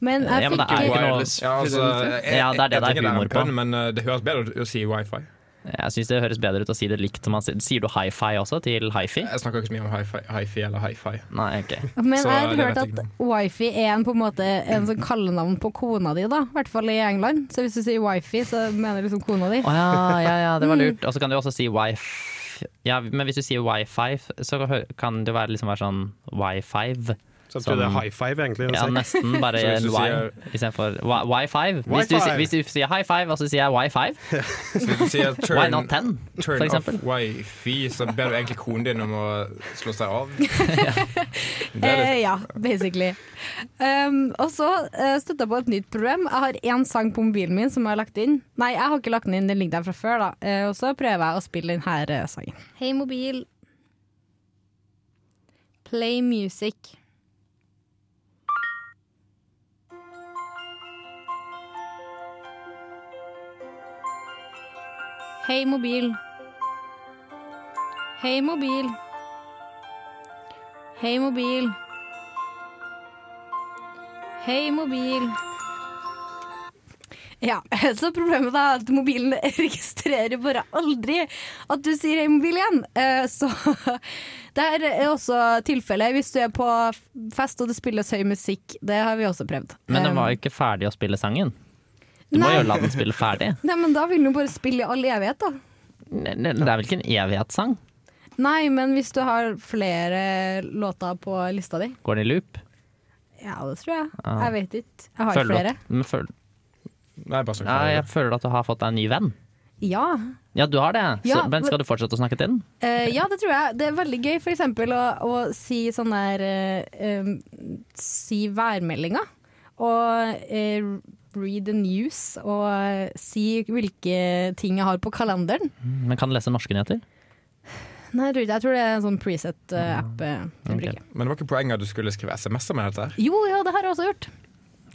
Speaker 1: Men jeg
Speaker 2: Ja, men det
Speaker 1: fikk
Speaker 2: er
Speaker 1: ikke
Speaker 2: jo ikke noe
Speaker 6: Wireless
Speaker 3: Ja, altså,
Speaker 6: fidelity.
Speaker 3: jeg,
Speaker 2: Ja, det er det det er
Speaker 3: jeg tenker
Speaker 2: humor
Speaker 3: en
Speaker 2: på.
Speaker 3: pønn, Men eh, det høres bedre ut å si wifi.
Speaker 2: Jeg syns det høres bedre ut å si det likt som man sier. Sier du hi-fi også til hifi?
Speaker 3: Jeg snakker ikke så mye om hi-fi, hi-fi eller hi-fi.
Speaker 2: Nei, ok.
Speaker 1: Men
Speaker 3: Så
Speaker 1: jeg har
Speaker 3: det vet
Speaker 1: hørt
Speaker 3: jeg
Speaker 1: at wifi er en, på en måte en sånn kallenavn på kona di, da. I hvert fall i England. Så hvis du sier wifi, så mener du liksom kona di.
Speaker 2: Å ja, ja, ja, det var lurt. Og så kan du også si wifi. Ja, men hvis du sier wifi, så hø- kan det være, liksom være sånn wifi.
Speaker 7: Samtidig er det high five, egentlig, å
Speaker 2: Ja,
Speaker 7: si.
Speaker 2: nesten bare
Speaker 7: Så hvis
Speaker 2: en
Speaker 7: du
Speaker 2: Y
Speaker 7: sier-
Speaker 2: istedenfor Y5. Hvis, du
Speaker 7: Wi-Fi.
Speaker 2: si- hvis du sier high five, og så sier jeg Y5
Speaker 3: Så hvis du sier turn,
Speaker 2: Why not 10,
Speaker 3: turn
Speaker 2: for eksempel?
Speaker 3: off wifi, så ber du egentlig konen din om å slå seg av. Det er
Speaker 1: Eh,
Speaker 3: litt-
Speaker 1: ja, basically. Um, og så uh, støtta på et nytt problem. Jeg har én sang på mobilen min som jeg har lagt inn. Nei, jeg har ikke lagt den inn, den ligger der fra før, da. Eh, og så prøver jeg å spille den her eh, sangen.
Speaker 12: Hei, mobil. Play music. Hei, mobil. Hei, mobil. Hei, mobil. Hei, mobil.
Speaker 1: Ja, Så problemet da er at mobilen registrerer bare aldri at du sier 'hei, mobil' igjen. Eh, så det her er også tilfellet hvis du er på fest og det spilles høy musikk. Det har vi også prøvd.
Speaker 2: Men den
Speaker 1: Um,
Speaker 2: var jo ikke ferdig å spille sangen. Du må
Speaker 1: Nei.
Speaker 2: jo la den spille ferdig.
Speaker 1: Nei, men da vil den jo bare spille i all evighet, da.
Speaker 2: Ne- ne- Det er vel ikke en evighetssang?
Speaker 1: Nei, men hvis du har flere låter på lista di
Speaker 2: Går den i loop?
Speaker 1: Ja, det tror jeg.
Speaker 2: Ja.
Speaker 1: Jeg vet ikke. Jeg har
Speaker 2: Føler du
Speaker 1: flere.
Speaker 2: at- men føl-
Speaker 3: Nei, bare
Speaker 2: ja, jeg føler at du har fått deg en ny venn.
Speaker 1: Ja.
Speaker 2: Ja, du har det.
Speaker 1: Ja,
Speaker 2: så, men skal du fortsette å snakke til den?
Speaker 1: Eh, ja, det tror jeg. Det er veldig gøy for eksempel å, å si sånn der eh, um, Si værmeldinga. Og eh, read the news. Og eh, si hvilke ting jeg har på kalenderen.
Speaker 2: Men kan du lese norske nyheter?
Speaker 1: Nei, jeg tror ikke- jeg tror det er en sånn preset-app. eh,
Speaker 3: Ok. Men det var ikke poenget at du skulle skrive SMS-er med dette? her
Speaker 1: Jo, ja, det har jeg også gjort.
Speaker 3: Jeg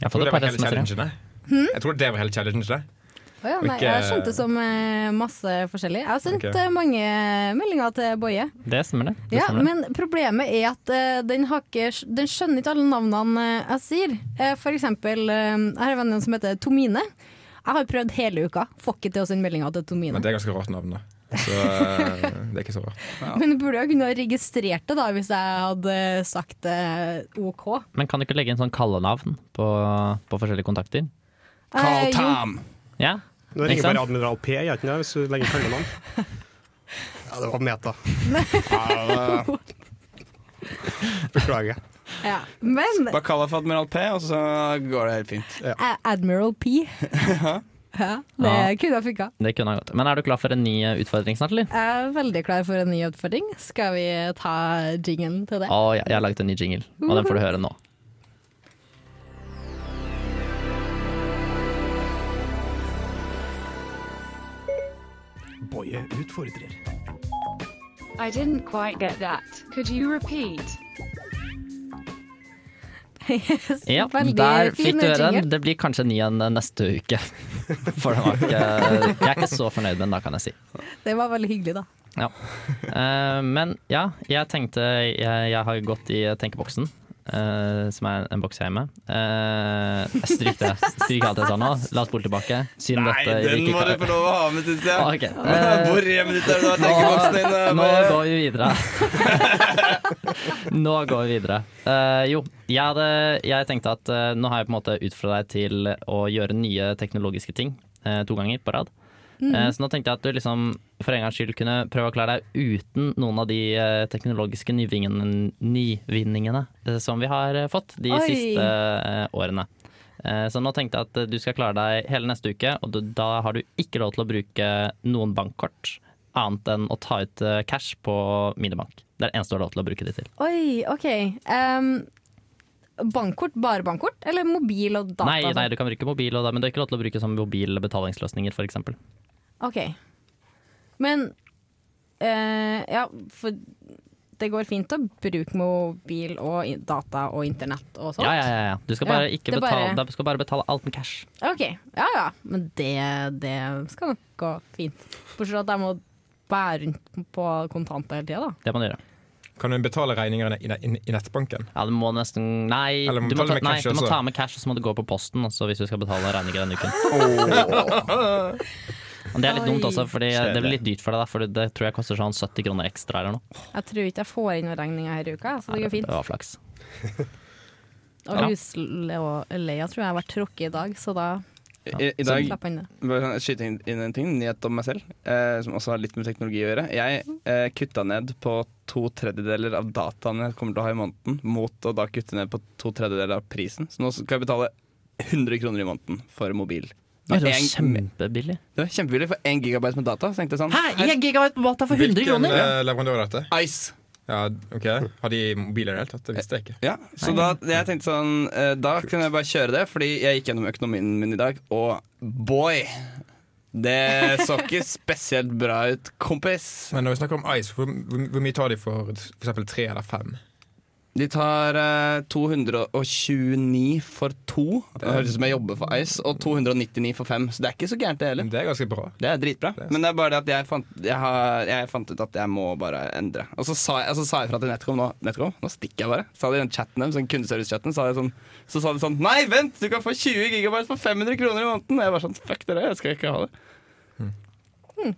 Speaker 2: fått
Speaker 3: tror
Speaker 2: et
Speaker 3: det
Speaker 2: par
Speaker 3: var hele
Speaker 2: SMS-er, ja.
Speaker 3: challengen. jeg.
Speaker 1: Hmm?
Speaker 3: Jeg tror det var hele challengen. det.
Speaker 1: Å ja,
Speaker 3: Og
Speaker 1: nei,
Speaker 3: ikke-
Speaker 1: jeg skjønte som eh, masse forskjellig. Jeg har sendt
Speaker 3: Ok.
Speaker 1: eh, mange meldinger til Boje.
Speaker 2: Det stemmer, det. det
Speaker 1: Ja,
Speaker 2: stemmer det.
Speaker 1: men problemet er at eh, den, har ikke, den skjønner ikke alle navnene eh, jeg sier. Eh, for eksempel, eh, jeg har en venn som heter Tomine. Jeg har prøvd hele uka. Får ikke til å sende meldinger til Tomine.
Speaker 3: Men det er ganske rart navn, da. Så eh, det er ikke så rart.
Speaker 1: Men burde jeg kunne ha registrert det da, hvis jeg hadde sagt eh, OK.
Speaker 2: Men kan du ikke legge inn sånn kallenavn på, på forskjellige kontakter?
Speaker 1: Carl Eh, jo. Tam.
Speaker 2: Ja?
Speaker 7: Nå
Speaker 2: Ikke
Speaker 7: ringer
Speaker 2: sant?
Speaker 7: bare Admiral P, gjør ikke det, hvis du legger kallenavn? Ja, det var meta.
Speaker 6: Ja, det-
Speaker 7: Beklager.
Speaker 1: Ja. Men
Speaker 6: Bare kall deg for Admiral P, og så går det helt fint.
Speaker 1: eh, Admiral P. ja, det
Speaker 2: Ja.
Speaker 1: kunne ha funka.
Speaker 2: Det kunne ha gått. Men er du klar for en ny eh, utfordring snart, eller?
Speaker 1: Jeg er veldig klar for en ny utfordring. Skal vi ta jingen til det?
Speaker 2: Å, ja, jeg har laget en ny jingle, og den får du høre nå.
Speaker 13: Boje utfordrer.
Speaker 8: I didn't quite get that. Could you repeat?
Speaker 2: Ja, der fikk du høre den. Det blir kanskje en ny en eh, neste uke. For den var ikke Jeg er ikke så fornøyd med den, da, kan jeg si.
Speaker 1: Det var veldig hyggelig, da.
Speaker 2: Ja. Eh, men ja, jeg tenkte Jeg, jeg har gått i tenkeboksen. eh, som er en boks jeg er med. Eh, stryk det. Stryk alt jeg sa nå. La oss spole tilbake. Synd
Speaker 6: Nei,
Speaker 2: dette
Speaker 6: den
Speaker 2: ikke
Speaker 6: må du
Speaker 2: kan-
Speaker 6: få lov å ha med, syns jeg.
Speaker 2: Ok, eh,
Speaker 6: Hvor i hjemmet ditt er det du har tenkeboksen din? eh,
Speaker 2: Nå, nå
Speaker 6: Boje?
Speaker 2: går vi videre. nå går vi videre. Eh, jo, jeg, hadde, jeg tenkte at eh, nå har jeg på en måte utfordra deg til å gjøre nye teknologiske ting eh, to ganger på rad.
Speaker 1: Mm.
Speaker 14: Mhm.
Speaker 2: Eh, så nå tenkte jeg at du liksom for en gangs skyld kunne prøve å klare deg uten noen av de eh, teknologiske nyvingen- nyvinningene eh, som vi har eh, fått de
Speaker 14: Oi.
Speaker 2: siste eh, årene. Eh, Så nå tenkte jeg at eh, du skal klare deg hele neste uke, og du- da har du ikke lov til å bruke noen bankkort annet enn å ta ut eh, cash på minibank. Det er det eneste du har lov til å bruke det til.
Speaker 1: Oi, OK. Em, bankkort, bare bankkort? Eller mobil og data?
Speaker 2: nei, nei, du kan bruke mobil, og da, men du har ikke lov til å bruke sånn mobilbetalingsløsninger f.eks.
Speaker 1: OK. Men eh, Ja, for det går fint å bruke mobil og i- data og internett og sånt?
Speaker 2: Ja, ja, ja, ja. Du skal bare,
Speaker 1: Ja,
Speaker 2: ikke
Speaker 1: det er
Speaker 2: betale,
Speaker 1: bare-
Speaker 2: du skal bare betale alt med cash.
Speaker 1: OK. Ja ja. Men det, det skal nok gå fint. Bortsett fra at jeg må bære rundt på kontanter hele tida, da.
Speaker 2: Det må du gjøre.
Speaker 3: Kan du betale regningene i, i, i nettbanken?
Speaker 2: Ja, du må nesten Nei,
Speaker 3: Eller må
Speaker 2: du må,
Speaker 3: betale
Speaker 2: ta,
Speaker 3: med
Speaker 2: nei
Speaker 3: cash
Speaker 2: du må
Speaker 3: også.
Speaker 2: ta med cash, og så må du gå på posten også, hvis du skal betale regninger denne uken. Men Det er litt
Speaker 1: Oi.
Speaker 2: dumt også, fordi det
Speaker 1: Kjedelig.
Speaker 2: blir litt dyrt for deg, da, for det tror jeg koster sånn 70 kroner ekstra eller noe.
Speaker 1: Jeg tror ikke jeg får inn noen regninger her i uka, så det går fint.
Speaker 2: Det var flaks.
Speaker 1: Og
Speaker 2: Ja.
Speaker 1: husleia tror jeg var tråkket i dag, så da
Speaker 6: I, i dag bare kan jeg skyte inn- inn en ting, nyhet om meg selv, eh, som også har litt med teknologi å gjøre. Jeg eh, kutta ned på to tredjedeler av dataen jeg kommer til å ha i måneden, mot å da kutte ned på to tredjedeler av prisen. Så nå skal jeg betale 100 kroner i måneden for mobil.
Speaker 2: Ja, det var
Speaker 6: En-
Speaker 2: kjempebillig.
Speaker 6: det var kjempebillig for 1 gigabyte med data. Så tenkte jeg sånn
Speaker 2: Hæ, 1 gigabyte med data for 100
Speaker 6: Hvilken,
Speaker 2: kroner?
Speaker 6: eh,
Speaker 3: Eh, Leverandør av dette?
Speaker 6: Ice.
Speaker 3: Ja, ok. Har de mobiler i det hele tatt? Det visste jeg ikke.
Speaker 6: Ja, Så da, jeg tenkte sånn eh, Da kan jeg bare kjøre det, fordi jeg gikk gjennom økonomien min i dag, og boy! Det så ikke spesielt bra ut, kompis.
Speaker 3: Men når vi snakker om Ice, hvor, hvor, hvor mye tar de for f.eks. tre eller fem?
Speaker 6: De tar eh, 229 for to. Det høres ut som jeg jobber for Ice. Og 299 for fem. Så det er ikke så gærent, det heller.
Speaker 3: Det er ganske bra.
Speaker 6: Det er dritbra. Men det er bare det at jeg fant, jeg, har, jeg fant ut at jeg må bare endre. Og så sa jeg, og så sa jeg fra til Netcom nå. Netcom, nå stikker jeg bare. Sa de i den chatten dem, sånn kundeservice-chatten, sa jeg sånn, så sa de sånn Nei, vent! Du kan få 20 gigabyte for 500 kroner i måneden! Og jeg var sånn Fuck dere, jeg skal ikke ha det.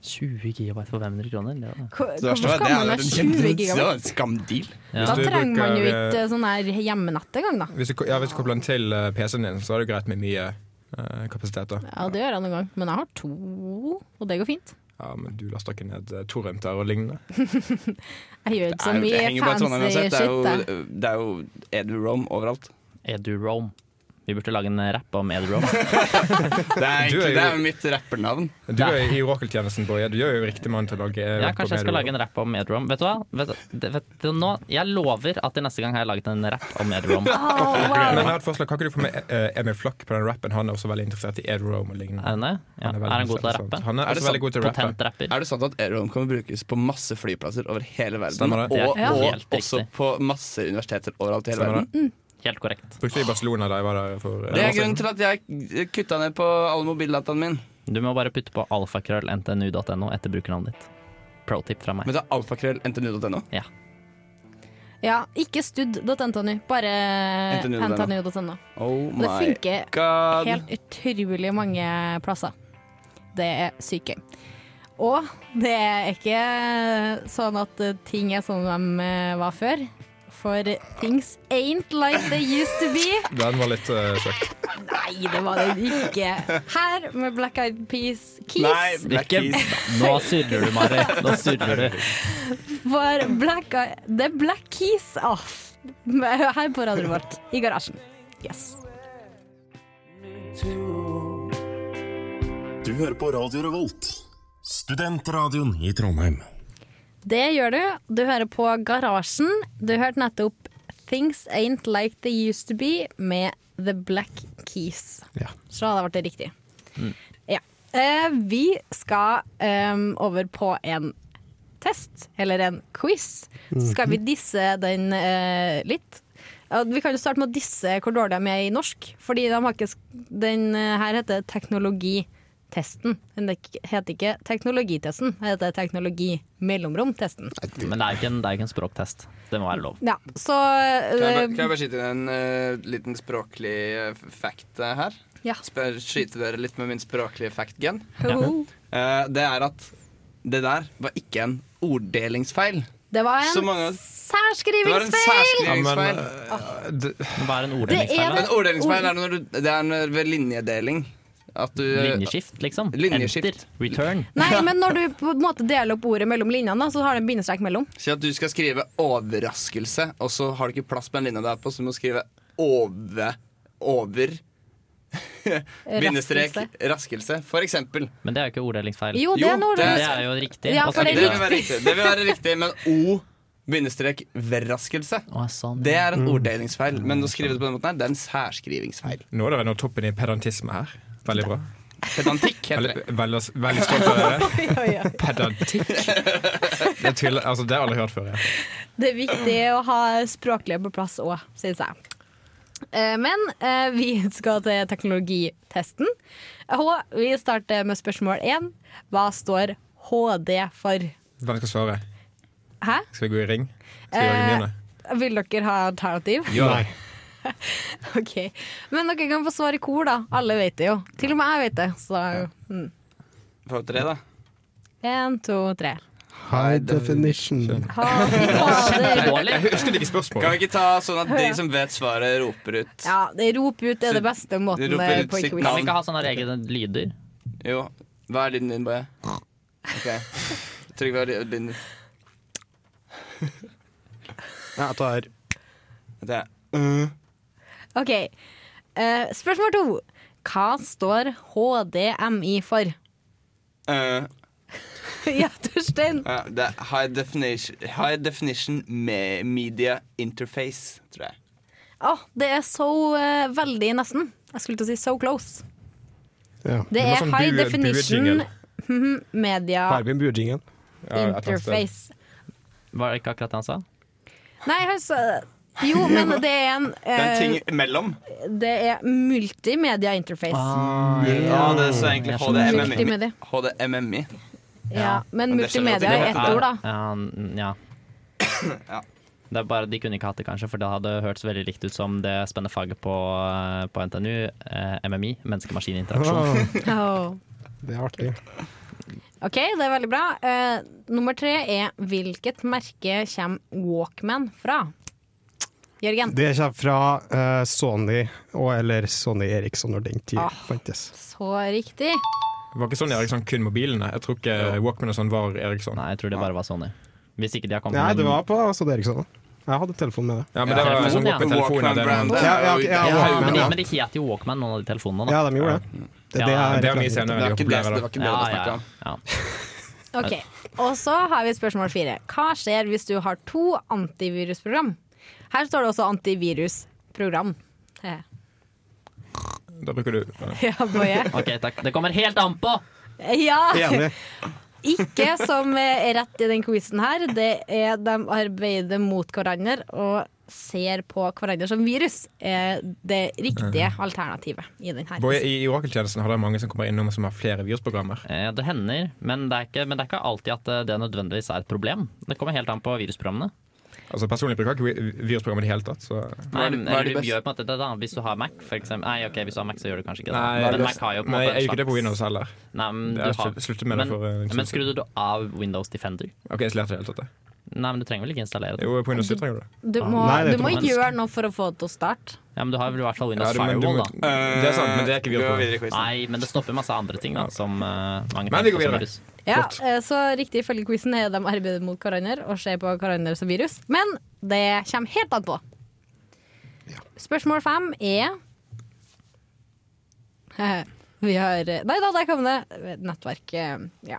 Speaker 2: 20 gigabyte for 500 kroner? Det var-
Speaker 9: Hvor-
Speaker 6: Så det
Speaker 9: Hvorfor
Speaker 6: verste var
Speaker 9: skal
Speaker 6: at det
Speaker 9: man
Speaker 6: er
Speaker 9: ha
Speaker 6: en
Speaker 9: 20
Speaker 6: kjempe- Det var
Speaker 9: gigabyte?
Speaker 6: en skamdeal.
Speaker 9: Da
Speaker 3: Hvis du
Speaker 9: trenger man jo
Speaker 3: bruker,
Speaker 9: ikke
Speaker 3: eh,
Speaker 9: sånn her hjemmenett engang, da.
Speaker 3: Hvis du, ja, hvis du kobler den til eh, PC-en din, så er det greit med mye eh, kapasitet. da.
Speaker 9: Ja, det gjør jeg noen gang, men jeg har to, og det går fint.
Speaker 3: Ja, men du laster ikke ned eh, torrenter og lignende.
Speaker 9: Jeg gjør ikke så
Speaker 6: Det
Speaker 9: mye
Speaker 6: henger bare i Trondheim
Speaker 9: fancy
Speaker 6: uansett.
Speaker 9: shit.
Speaker 6: Det er
Speaker 9: jeg.
Speaker 6: jo, det er jo Edu-Rome overalt.
Speaker 2: Edu-Rome. Vi burde lage en rapp om Edu-Rome.
Speaker 6: Det er,
Speaker 3: Du er
Speaker 6: egentlig,
Speaker 3: jo-
Speaker 6: det er jo mitt rappernavn.
Speaker 3: Du er i Oracle-tjenesten, Boje. Du er jo riktig mann til å lage eh,
Speaker 2: Ja, kanskje jeg skal
Speaker 3: Oracle-medier.
Speaker 2: lage en rapp om Edu-Rome. Vet du hva? Vet, du- vet du, nå, jeg lover at til neste gang har jeg laget en rapp om Edu-Rome.
Speaker 3: Men jeg har et forslag. Kan ikke du få med eh, Emil Flakk på den rappen? Han er også veldig interessert i Ed Rome og lignende.
Speaker 2: Er han det? Ja.
Speaker 3: Han
Speaker 2: Er
Speaker 3: er veldig
Speaker 2: han god til å
Speaker 3: interessert i
Speaker 2: rappe? sånn
Speaker 3: sånt. Han er,
Speaker 6: det
Speaker 3: også veldig
Speaker 6: sant?
Speaker 3: god til å rappe.
Speaker 2: Potent rapper.
Speaker 6: Er det sant at Aerodrome kan brukes på masse flyplasser over hele verden?
Speaker 3: Stemmer det.
Speaker 6: Og,
Speaker 2: Det er
Speaker 6: og
Speaker 2: helt
Speaker 6: også
Speaker 2: riktig.
Speaker 6: på masse universiteter overalt i hele
Speaker 3: Stemmer
Speaker 6: verden.
Speaker 2: Helt korrekt.
Speaker 3: Brukte det i Barcelona da jeg var der for eh, år
Speaker 6: Det er
Speaker 3: siden.
Speaker 6: grunnen til at jeg kutta ned på alle mobildataene mine.
Speaker 2: Du må bare putte på alfakrøllntnu.no etter brukernavnet ditt. Pro-tip fra meg.
Speaker 6: Men det er alfakrøll.ntnu.no.
Speaker 2: Ja.
Speaker 9: Ja, ikke stud.ntnu, bare
Speaker 6: NTNU.no.
Speaker 9: ntnu.no.
Speaker 6: Oh
Speaker 9: Og det
Speaker 6: my
Speaker 9: funker
Speaker 6: god.
Speaker 9: helt utrolig mange plasser. Det er sykt gøy. Og det er ikke sånn at eh, ting er sånn de eh, var før. For things ain't like they used to be.
Speaker 3: Den var litt eh, søkt.
Speaker 9: Nei, det var det ikke. Her med Black Eyed Peas
Speaker 6: Nei,
Speaker 9: Keys.
Speaker 6: Black
Speaker 2: Ikke-
Speaker 6: Keys.
Speaker 2: Nå surrer du, Mari. Nå surrer du.
Speaker 9: For Black Eyed Det er Black Keys off her på radioen vårt i garasjen. Yes.
Speaker 15: Du hører på Radio Revolt, studentradioen i Trondheim.
Speaker 1: Det gjør du. Du hører på Garasjen. Du hørte nettopp Things Ain't Like They Used To Be med The Black Keys.
Speaker 3: Ja.
Speaker 1: Så da ble det riktig. Ja. Eh, vi skal em, over på en test, eller en quiz. Så skal vi disse den eh, litt. Ja, Vi kan jo starte med å disse hvor dårlig de er i norsk. Fordi de har ikke sk- Den eh, her heter teknologitesten. Den dek- heter ikke teknologitesten, den heter teknologi-mellomrom-testen.
Speaker 2: Men det er jo ikke en, det er jo ikke en språktest. Det må være lov.
Speaker 1: Ja, så
Speaker 6: Kan jeg, bare,
Speaker 1: eh,
Speaker 6: kan jeg bare skyte inn en eh, liten språklig eh, fact eh, her?
Speaker 1: Ja.
Speaker 6: Sp- Skyte dere litt med min språklige fact-gen?
Speaker 1: ho-ho.
Speaker 6: Eh, det er at det der var ikke en orddelingsfeil.
Speaker 1: Det var
Speaker 6: Så
Speaker 1: en
Speaker 6: mange- Det var en
Speaker 1: særskrivingsfeil!
Speaker 3: Ja, men
Speaker 6: særskrivingsfeil.
Speaker 3: eh, det-
Speaker 2: Hva er en
Speaker 1: Det er
Speaker 2: orddelingsfeil? da?
Speaker 1: det.
Speaker 6: En orddelingsfeil er når du, det er når, ved linjedeling. At du
Speaker 2: Linjeskift, liksom?
Speaker 6: øh, Linjeskift.
Speaker 2: Enter. Return.
Speaker 1: Nei, men når du på en måte deler opp ordet mellom linjene, da, så har det en bindestrek mellom.
Speaker 6: Si at du skal skrive 'overraskelse', og så har du ikke plass på den linja der på, så du må skrive 'over'. over bindestrek raskelse, for eksempel.
Speaker 2: Men det er jo ikke orddelingsfeil.
Speaker 1: Jo, det
Speaker 6: Jo,
Speaker 1: er en
Speaker 6: det er- Altså,
Speaker 2: Det
Speaker 1: orddelingsfeil.
Speaker 2: er jo riktig.
Speaker 1: Ja,
Speaker 2: Og
Speaker 1: for
Speaker 2: så-
Speaker 6: Det
Speaker 1: det er
Speaker 6: vil være riktig, det vil være riktig men O bindestrek verraskelse.
Speaker 2: Å, sånn.
Speaker 6: Det er en orddelingsfeil, men å skrive det på den måten her, det er en særskrivingsfeil.
Speaker 3: Nå er dere nå toppen i pedantisme her. Veldig bra.
Speaker 6: Pedantikk heter det.
Speaker 3: Veldig, veldig, veldig stolt av dere. Pedantikk. Det, tviler, altså, det har jeg aldri hørt før. Jeg.
Speaker 1: Det er viktig å ha språklige på plass òg, syns jeg. Eh, Men eh, vi skal til teknologitesten. Og vi starter med spørsmål én. Hva står HD for?
Speaker 3: Hvem skal svare?
Speaker 1: Hæ?
Speaker 3: Skal vi gå i ring? Skal vi lage mine?
Speaker 1: Vil dere ha alternativ?
Speaker 6: Eh,
Speaker 3: Ja.
Speaker 1: Ok, Men dere kan få svar i kor, da. Alle vet det jo. Til og med jeg vet det. Så
Speaker 6: Få tre, da.
Speaker 1: én, to, tre.
Speaker 7: High definition.
Speaker 6: Kjempedårlig.
Speaker 3: Jeg husker ikke spørsmålet.
Speaker 6: Kan vi ikke ta sånn at de som vet svaret, roper ut?
Speaker 1: Ja, det rop ut er det beste måten
Speaker 6: roper
Speaker 1: eh,
Speaker 6: ut
Speaker 1: på en
Speaker 6: sitt
Speaker 1: quiz.
Speaker 6: navn.
Speaker 2: Kan vi ikke ha sånne egne lyder?
Speaker 6: Jo. Hva er lyden din, Boje? Ok. Trygve, hva er lyden din?
Speaker 7: Ja, jeg tar
Speaker 6: Det er
Speaker 1: OK. Eh, spørsmål to. Hva står HDMI for?
Speaker 6: øh,
Speaker 1: ja, Torstein.
Speaker 6: ja, Det er High Definition, high definition me Media Interface, tror jeg.
Speaker 1: Å, det er så eh, veldig nesten. Jeg skulle til å si so close. Det er
Speaker 6: sånn
Speaker 1: high definition mhm, media
Speaker 7: Har vi en buejingle?
Speaker 1: interface.
Speaker 2: Var det ikke akkurat det han sa?
Speaker 1: Nei, han sa Jo, men det er en
Speaker 6: Det er en
Speaker 1: eh,
Speaker 6: ting imellom.
Speaker 1: Det er multimedia interface. Ah.
Speaker 6: ja, Ah, det står egentlig HDMMI.
Speaker 1: Multimedia.
Speaker 6: HDMMI.
Speaker 1: Ja, men
Speaker 6: Men det skjønner
Speaker 1: multimedia
Speaker 6: jeg at
Speaker 1: er
Speaker 6: det
Speaker 1: ett
Speaker 6: ikke
Speaker 1: ord, da.
Speaker 2: Ja, n- ja. Det er bare De kunne ikke hatt det, kanskje, for det hadde hørtes veldig likt ut som det spennende faget på, eh, på NTNU, eh, MMI,
Speaker 7: Ah.
Speaker 2: menneske-maskin-interaksjon.
Speaker 1: Åh.
Speaker 7: Det er artig.
Speaker 1: OK, det er veldig bra. Eh, nummer tre er hvilket merke kommer Walkman fra? Jørgen.
Speaker 7: Det kommer fra eh, Sony og eller Sony Eriksson når den tid
Speaker 1: Ah.
Speaker 7: fantes.
Speaker 1: Så riktig.
Speaker 3: Det var ikke sånn Eriksson kun mobilene. Jeg tror ikke Walkman og sånn var Eriksson.
Speaker 2: Nei, jeg tror det bare var Sony. Hvis ikke de har kommet
Speaker 7: Nei,
Speaker 2: med
Speaker 7: det var på Sony Eriksson. Jeg hadde telefon med det.
Speaker 3: Ja, men det var sånn
Speaker 2: Telefonen, ja.
Speaker 3: Walkman-telefoner. det var-
Speaker 7: Ja, ja, ok, ja,
Speaker 2: Ja,
Speaker 7: Walkman,
Speaker 2: men, de,
Speaker 7: ja.
Speaker 2: men de het jo Walkman, noen av de telefonene. Da.
Speaker 7: Ja, de gjorde det. Det, er det,
Speaker 2: Ja,
Speaker 7: jeg
Speaker 3: mm. det er mye
Speaker 7: refererer til.
Speaker 3: senere.
Speaker 6: Det var ikke det det var ikke det det
Speaker 2: Ja,
Speaker 6: snakket
Speaker 2: ja,
Speaker 6: om.
Speaker 2: ja.
Speaker 1: OK. Og så har vi spørsmål fire. Hva skjer hvis du har to antivirusprogram? Her står det også antivirusprogram. Eh,
Speaker 3: Da bruker du
Speaker 1: Ja, Boje.
Speaker 2: Ok, takk. Det kommer helt an på!
Speaker 1: Ja.
Speaker 7: Enig.
Speaker 1: Ikke som er rett i den quizen her. Det er de arbeider mot hverandre og ser på hverandre som virus. Er det riktige alternativet i den her.
Speaker 3: Boje, I i Orakeltjenesten har det mange som kommer innom som har flere virusprogrammer.
Speaker 2: Eh, Det hender, men det, er ikke, men det er ikke alltid at eh, det nødvendigvis er et problem. Det kommer helt an på virusprogrammene.
Speaker 3: Altså Personlig bruker jeg ikke vi- virusprogram i det hele tatt. Så.
Speaker 2: Nei,
Speaker 6: er det- hva er
Speaker 2: eller
Speaker 6: det
Speaker 2: du
Speaker 6: beste?
Speaker 2: gjør på en måte det da Hvis du har Mac, for eksempel. Nei, ok, hvis du har Mac, så gjør du kanskje ikke det.
Speaker 3: Nei,
Speaker 2: men Mac har jo på en
Speaker 3: Nei,
Speaker 2: måte en
Speaker 3: jeg gjør ikke det på
Speaker 2: slags-
Speaker 3: Windows heller.
Speaker 2: Nei, men,
Speaker 3: Det
Speaker 2: du
Speaker 3: har jeg
Speaker 2: har...
Speaker 3: slutt- sluttet med det
Speaker 2: men,
Speaker 3: for, eh, en stund
Speaker 2: men skrudde du av Windows Defender?
Speaker 3: Ok, jeg installerte det hele tatt. jeg.
Speaker 2: Nei, men du trenger vel ikke installere det?
Speaker 3: Jo, på Windows 7 trenger du det.
Speaker 1: Du må,
Speaker 7: Nei, det
Speaker 1: du må
Speaker 7: tror jeg.
Speaker 1: gjøre noe for å få det til å starte.
Speaker 2: Ja, men du har vel i hvert fall
Speaker 3: Ja,
Speaker 2: Windows
Speaker 3: du- men du
Speaker 2: Firewall,
Speaker 3: må-
Speaker 2: da.
Speaker 3: det er sant, men det er ikke
Speaker 6: Vi går
Speaker 3: virusprogram.
Speaker 6: videre i quizen.
Speaker 2: Nei, men det stopper masse andre ting, da, som eh, mange
Speaker 3: Men
Speaker 2: tenker
Speaker 3: vi går
Speaker 2: på som
Speaker 3: videre.
Speaker 2: virus.
Speaker 1: Ja,
Speaker 3: Flott.
Speaker 1: eh, så riktig ifølge quizen er de arbeider mot hverandre og ser på hverandre som virus. Men det kommer helt an på. Spørsmål fem er Vi har Nei da, der kom det. Nettverk. eh, Ja.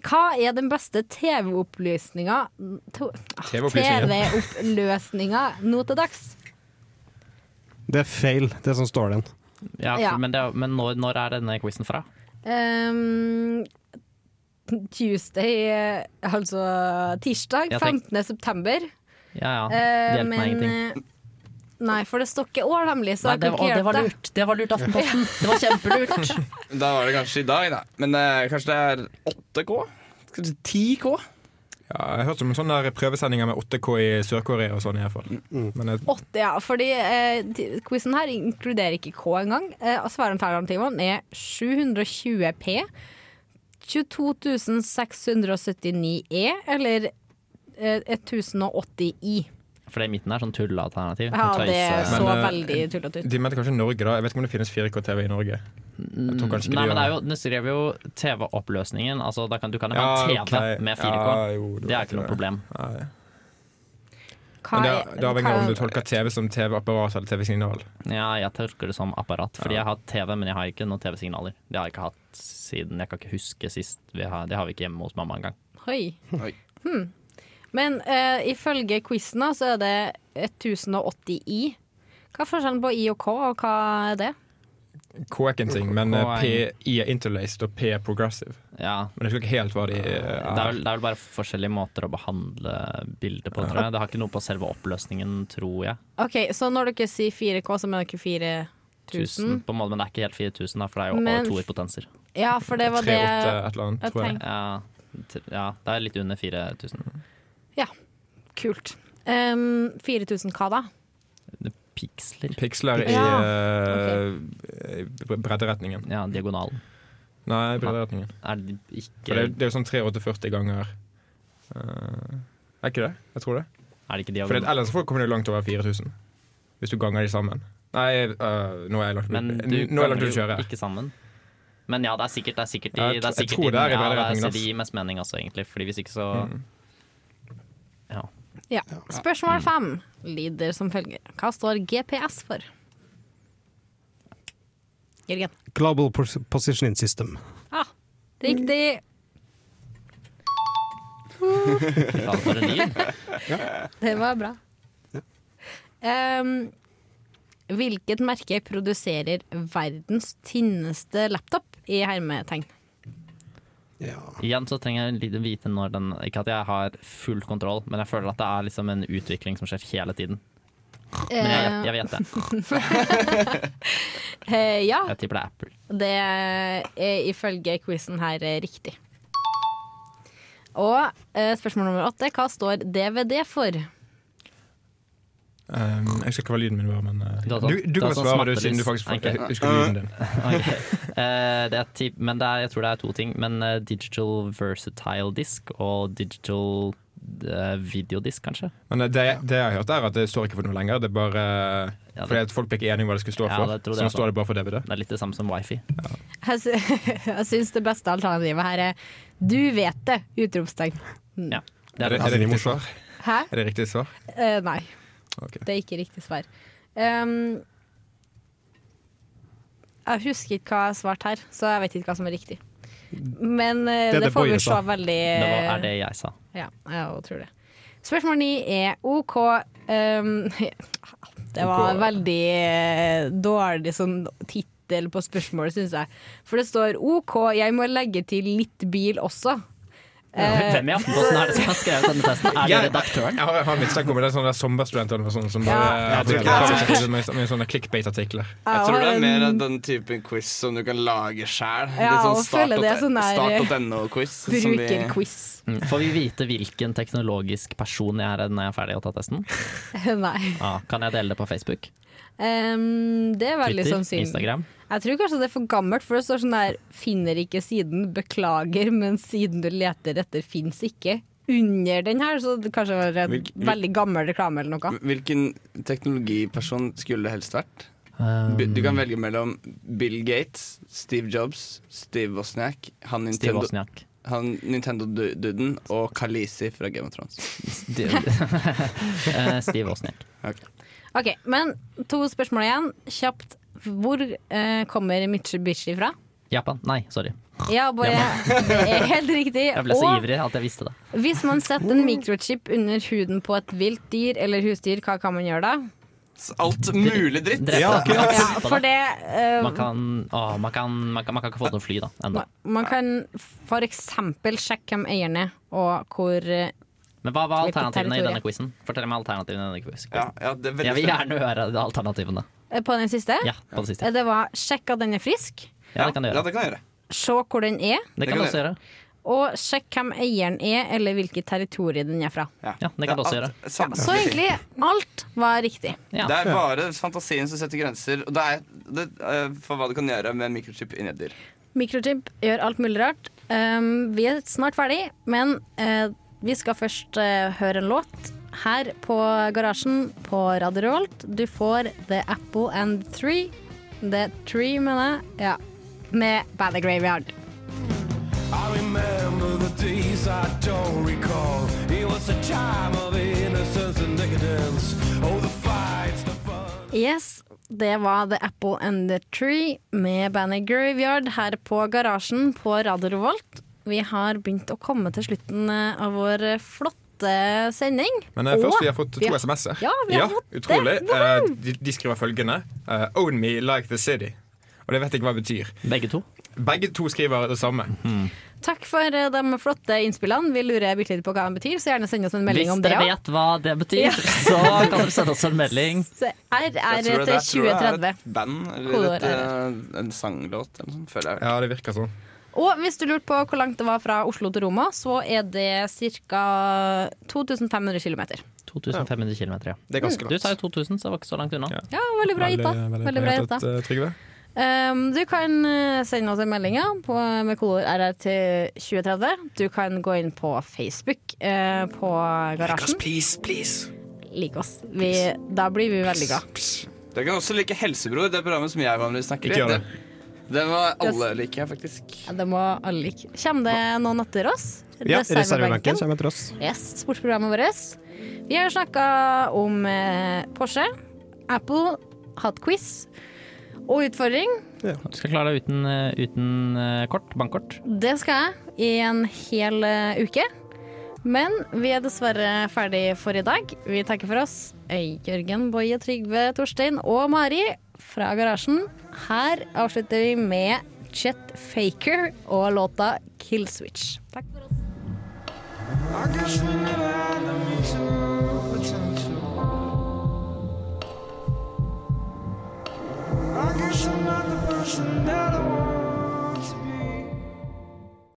Speaker 1: Hva er den beste TV-opplysninga to- ah,
Speaker 3: TV-opplysningen.
Speaker 1: TV-oppløsninga nå til dags?
Speaker 7: Det er feil, det som står den.
Speaker 2: Ja, for,
Speaker 1: Ja.
Speaker 2: Men, det, er- men når, når er denne quizen fra?
Speaker 1: Um, Tuesday, eh, altså tirsdag
Speaker 2: Jeg tenk-
Speaker 1: 15. september.
Speaker 2: Ja, ja. Det
Speaker 1: Eh,
Speaker 2: hjelper meg
Speaker 1: men
Speaker 2: ingenting.
Speaker 1: eh, Nei, for det står ikke år, nemlig. Så
Speaker 2: Nei,
Speaker 1: jeg
Speaker 2: det,
Speaker 1: kan
Speaker 2: å,
Speaker 1: ikke
Speaker 2: det
Speaker 1: hjelpe
Speaker 2: var
Speaker 1: deg.
Speaker 2: lurt. Det var lurt, Aftenposten. Det var kjempelurt.
Speaker 6: Da var det kanskje i dag, da. Men eh, kanskje det er 8K? Kanskje 10K?
Speaker 3: Ja, jeg har hørt om sånne der prøvesendinger med 8K i Sør-Korea og sånn i hvert fall.
Speaker 6: Mm,
Speaker 3: Men jeg,
Speaker 1: Åtte, ja. Fordi eh, t- quizen her inkluderer ikke K engang. Eh, og Svaralternativene er 720P, 22679 E eller eh, 1080 I.
Speaker 2: For det i midten er sånn tullealternativ.
Speaker 1: Ja,
Speaker 2: Sånn
Speaker 1: det
Speaker 2: tøys-
Speaker 1: så
Speaker 3: Men, eh,
Speaker 1: veldig tullete ut.
Speaker 3: de mente kanskje Norge, da. Jeg vet ikke om det finnes 4K-TV i Norge. Jeg tror kanskje ikke
Speaker 2: Nei, men det er
Speaker 3: de gjør
Speaker 2: jo, Nå skrev jo TV-oppløsningen. Altså, da kan, du kan jo ha en
Speaker 3: Ja,
Speaker 2: TV
Speaker 3: ok.
Speaker 2: med 4K.
Speaker 3: Ja, jo, det
Speaker 2: det
Speaker 3: var
Speaker 2: er ikke noe
Speaker 3: det.
Speaker 2: problem.
Speaker 3: Nei.
Speaker 1: Hva
Speaker 3: Men det,
Speaker 1: er-
Speaker 3: det avhenger av om
Speaker 1: hva-
Speaker 3: du tolker TV som TV-apparat eller TV-signal.
Speaker 2: Ja, jeg tolker det som apparat. Fordi jeg har TV, men jeg har ikke noen TV-signaler. Det har jeg ikke hatt siden Jeg kan ikke huske sist. Vi har, det har vi ikke hjemme hos mamma engang.
Speaker 1: Oi.
Speaker 6: Oi.
Speaker 1: Hmm. Men eh, ifølge quizen da, så er det 1080 i. Hva er forskjellen på i og k, og hva er det?
Speaker 3: K er ikke en ting, men
Speaker 2: K-
Speaker 3: eh,
Speaker 2: K er
Speaker 3: P, I er interlaced og P er progressive.
Speaker 2: Ja,
Speaker 3: Men jeg husker ikke helt hva de eh,
Speaker 2: det er, vel, det er vel bare forskjellige måter å behandle bildet på, tror jeg. Det har ikke noe på selve oppløsningen, tror jeg.
Speaker 1: OK, så når dere sier 4K, så mener dere 4000?
Speaker 2: 1000 på en måte, men det er ikke helt 4000, da, for det er jo
Speaker 1: Men-
Speaker 2: over toerpotenser.
Speaker 1: Ja, for det var
Speaker 3: Tre,
Speaker 1: det
Speaker 3: åtte, et eller annet,
Speaker 1: jeg
Speaker 3: tror jeg.
Speaker 1: tenkte.
Speaker 2: Ja, t- ja, det er litt under 4000.
Speaker 1: Kult. Um, 4000 hva da?
Speaker 2: Det er Piksler.
Speaker 3: Piksler i
Speaker 1: Ja,
Speaker 3: eh, bre- bredderetningen.
Speaker 2: Ja, diagonalen.
Speaker 3: Nei, bredderetningen.
Speaker 2: Er det
Speaker 3: For det,
Speaker 2: ikke
Speaker 3: er- det er jo sånn 3840 ganger eh, er ikke det? Jeg tror det.
Speaker 2: Er det ikke de
Speaker 3: For ellers får- kommer du langt over 4000. Hvis du ganger de sammen. Nei, øh, nå er jeg langt
Speaker 2: Men du
Speaker 3: Nå er jeg langt
Speaker 2: ganger
Speaker 3: ut å kjøre.
Speaker 2: jo ikke sammen. Men ja, det er sikkert, det er sikkert, de,
Speaker 3: Jeg
Speaker 2: det
Speaker 3: tro-
Speaker 2: er
Speaker 3: jeg
Speaker 2: sikkert
Speaker 3: tror det er i
Speaker 2: de,
Speaker 3: den
Speaker 2: ja,
Speaker 3: retningen,
Speaker 2: det
Speaker 3: ass. Mm.
Speaker 2: er de mest mening også, egentlig. Fordi hvis ikke, så Ja.
Speaker 1: Ja. Spørsmål fem lyder som følger. Hva står GPS for? Jørgen.
Speaker 7: Global pos- positioning system.
Speaker 1: Ah, riktig.
Speaker 2: Faen, for en lyd.
Speaker 1: Det var bra. Um, hvilket merke produserer verdens tynneste laptop i hermetegn?
Speaker 2: Igjen så trenger jeg litt vite når den Ikke at jeg har full kontroll, men jeg føler at det er liksom en utvikling som skjer hele tiden. Men jeg vet, jeg vet det.
Speaker 1: Eh, ja,
Speaker 2: Jeg tipper det er Apple.
Speaker 1: det er ifølge quizen her eh, riktig. Og eh, spørsmål nummer åtte. Hva står DVD for?
Speaker 3: Um, jeg husker ikke hva lyden min var, men uh,
Speaker 2: Du har
Speaker 3: du,
Speaker 2: sånn-
Speaker 3: du kan
Speaker 2: har sånn
Speaker 3: svare, du,
Speaker 2: smertelys.
Speaker 3: siden du faktisk
Speaker 2: Ok.
Speaker 3: jeg husker lyden din.
Speaker 2: Ok. Eh, det er ti- men det er, jeg tror det er to ting. Men eh, digital versatile disk og digital eh, videodisk, kanskje.
Speaker 3: Men eh, det, det jeg har hørt, er at det står ikke for noe lenger. Det er bare eh, fordi at folk ble ikke enige om hva det skulle stå
Speaker 2: Ja,
Speaker 3: for.
Speaker 2: det tror jeg
Speaker 3: så nå
Speaker 2: også.
Speaker 3: står det bare for DVD.
Speaker 2: Det er litt det samme som wifi.
Speaker 1: Jeg, sy jeg syns det beste alternativet her er 'du vet det!' utropstegn.
Speaker 2: Ja.
Speaker 3: Er Altså, det, er det riktig svar?
Speaker 1: Hæ?
Speaker 3: Er det riktig svar?
Speaker 1: Eh, nei.
Speaker 3: Ok.
Speaker 1: Det er ikke riktig svar. Ehm, jeg husker ikke hva jeg svarte her, så jeg vet ikke hva som er riktig. Men eh, det,
Speaker 2: Det er det
Speaker 1: får vi
Speaker 2: Boje
Speaker 1: se
Speaker 2: sa.
Speaker 1: veldig
Speaker 2: Det var, er det jeg sa.
Speaker 1: Ja, jeg også tror det. Spørsmål ni er OK ehm, Det var
Speaker 2: OK.
Speaker 1: veldig eh, dårlig sånn tittel på spørsmålet, syns jeg. For det står OK, jeg må legge til litt bil også. Eh,
Speaker 2: Hvem i Aftenposten er det som har skrevet denne testen? Er det
Speaker 3: Jeg-
Speaker 2: redaktøren?
Speaker 3: Jeg har, jeg har mitt snakk om det, sånne der sommerstudenter eller noe sånt som bare
Speaker 2: Ja.
Speaker 3: ja,
Speaker 2: Jeg tror
Speaker 6: det.
Speaker 3: med, med sånne clickbait-artikler.
Speaker 6: Jeg tror det
Speaker 1: og
Speaker 6: er mer
Speaker 1: en-
Speaker 6: av den typen quiz som du kan lage sjæl.
Speaker 1: Ja,
Speaker 6: Litt
Speaker 1: og føler det er sånn
Speaker 6: sånn
Speaker 1: der-
Speaker 6: start.no-quiz.
Speaker 1: Brukerquiz.
Speaker 2: Mm. Får vi vite hvilken teknologisk person jeg er når jeg er ferdig å ta testen?
Speaker 1: Nei.
Speaker 2: Ja, kan jeg dele det på Facebook?
Speaker 1: Ehm, det er veldig
Speaker 2: Twitter?
Speaker 1: sannsynlig.
Speaker 2: Instagram?
Speaker 1: Jeg tror kanskje det er for gammelt, for det står sånn der 'finner ikke siden, beklager', men siden du leter etter, fins ikke. Under den her, så det kanskje var en
Speaker 6: Hvilk- hvil-
Speaker 1: veldig gammel reklame eller noe.
Speaker 6: Hvilken teknologiperson skulle det helst vært?
Speaker 2: Um,
Speaker 6: Du kan velge mellom Bill Gates, Steve Jobs, Steve Wozniak, han
Speaker 2: Steve
Speaker 6: Nintendo,
Speaker 2: Wozniak.
Speaker 6: han Nintendo-duden og Khaleesi fra Game of Thrones.
Speaker 2: Eh, Steve Wozniak.
Speaker 1: Ok, Men to spørsmål igjen, kjapt. Hvor eh, kommer Mitsubishi fra?
Speaker 2: Japan? Nei, sorry.
Speaker 1: Ja, bare Det er helt riktig.
Speaker 2: Jeg ble så
Speaker 1: Og
Speaker 2: ivrig at jeg visste det.
Speaker 1: hvis man setter en mikrochip under huden på et vilt dyr eller husdyr, hva kan man gjøre da?
Speaker 6: Alt mulig dritt!
Speaker 2: Drepe det.
Speaker 1: Ja, for det eh,
Speaker 2: Man kan, å, man, kan, man, kan, man kan ikke få det til å fly da, ennå.
Speaker 1: Man kan for eksempel sjekke hvem eieren er, og hvor eh,
Speaker 2: Men hva var
Speaker 1: Hvilket
Speaker 2: alternativene i
Speaker 1: territorium?
Speaker 2: denne quizen? Fortell meg alternativene i denne quizen.
Speaker 6: Ja, ja, det er veldig
Speaker 2: Jeg vil
Speaker 6: spennende.
Speaker 2: gjerne høre de alternativene.
Speaker 1: På den siste?
Speaker 2: Ja, på det
Speaker 1: Eh,
Speaker 2: siste.
Speaker 1: Det var sjekk at den er frisk,
Speaker 2: Ja, det kan du
Speaker 6: Ja,
Speaker 2: gjøre.
Speaker 6: det kan jeg gjøre.
Speaker 1: se hvor den er,
Speaker 2: Det kan du også gjøre.
Speaker 1: og sjekk hvem eieren er, eller hvilket territorium den er fra.
Speaker 2: Ja, det kan du også gjøre.
Speaker 6: Samme-
Speaker 1: Så egentlig alt var riktig.
Speaker 6: Det er bare fantasien som setter grenser og det er, det, eh, for hva du kan gjøre med en mikrochip inni et dyr.
Speaker 1: Mikrochip gjør alt mulig rart. Um, vi er snart ferdig, men eh, vi skal først eh, høre en låt her på Garasjen på Radio Revolt. Du får The Apple and Three. The Tree, mener jeg. Ja. Med Bad The Graveyard.
Speaker 4: I remember the days I don't recall. It was a time of innocence and decadence. Oh, the fights, the fun.
Speaker 1: Yes, det var The Apple and The Tree med bandet Graveyard her på Garasjen på Radio Revolt. Vi har begynt å komme til slutten eh, av vår eh, flotte sending.
Speaker 3: Men eh, først,
Speaker 1: Og
Speaker 3: vi har fått
Speaker 1: vi
Speaker 3: to SMS-er.
Speaker 1: Ja, vi har fått det.
Speaker 3: utrolig. Eh, de, de skriver følgende eh, Own me like the city. Og det vet jeg ikke hva det betyr.
Speaker 2: Begge to?
Speaker 3: Begge to skriver det samme.
Speaker 1: Takk for eh, de flotte innspillene. Vi lurer bitte litt på hva de betyr, så gjerne send oss en melding
Speaker 2: Hvis
Speaker 1: om det.
Speaker 2: dere
Speaker 1: ja.
Speaker 2: vet hva det betyr, så kan dere sende oss en melding.
Speaker 1: Så
Speaker 6: Jeg
Speaker 1: RR
Speaker 6: tror det-
Speaker 1: til
Speaker 6: jeg tror det er
Speaker 1: 2030.
Speaker 6: Et band eller
Speaker 1: Kodeord
Speaker 6: et, eh, en sanglåt eller noe sånt, føler jeg.
Speaker 3: Ja, det virker sånn.
Speaker 1: Og hvis du lurte på hvor langt det var fra Oslo til Roma, så er det ca. 2500 km.
Speaker 2: 2500 km, ja.
Speaker 7: Det er ganske langt.
Speaker 2: Du sa jo 2000, så det var ikke så langt unna.
Speaker 1: Ja, veldig bra gitt, eh, da. Veldig bra gitt, da.
Speaker 3: Trygve.
Speaker 1: Um, du kan eh, sende oss en melding ja, på, med kodeord RR til 2030. Du kan gå inn på Facebook eh, på Garasjen.
Speaker 6: please, please.
Speaker 1: Lik oss. Vi, da blir vi veldig glad.
Speaker 6: Dere kan også like Helsebror, det programmet som jeg vanligvis snakker
Speaker 1: Ikke gjør
Speaker 6: i.
Speaker 1: det.
Speaker 6: Det- Den var alle liker jeg, faktisk.
Speaker 1: Ja, Det må alle like. Kommer det noen etter oss?
Speaker 7: Ja,
Speaker 1: Reservebenken.
Speaker 7: reservebenken kommer etter oss.
Speaker 1: Yes, sportsprogrammet vårt. Vi har snakka om eh, Porsche, Apple, hatt quiz og utfordring.
Speaker 2: Du skal klare deg uten, eh, uten eh, kort, bankkort.
Speaker 1: Det skal jeg i en hel eh, uke. Men vi er dessverre ferdig for i dag. Vi takker for oss. Eh, Jørgen, Boje, Trygve, Torstein og Mari fra Garasjen. Her avslutter vi med Chet Faker og låta 'Killswitch'. Takk for oss.
Speaker 4: I guess we never had the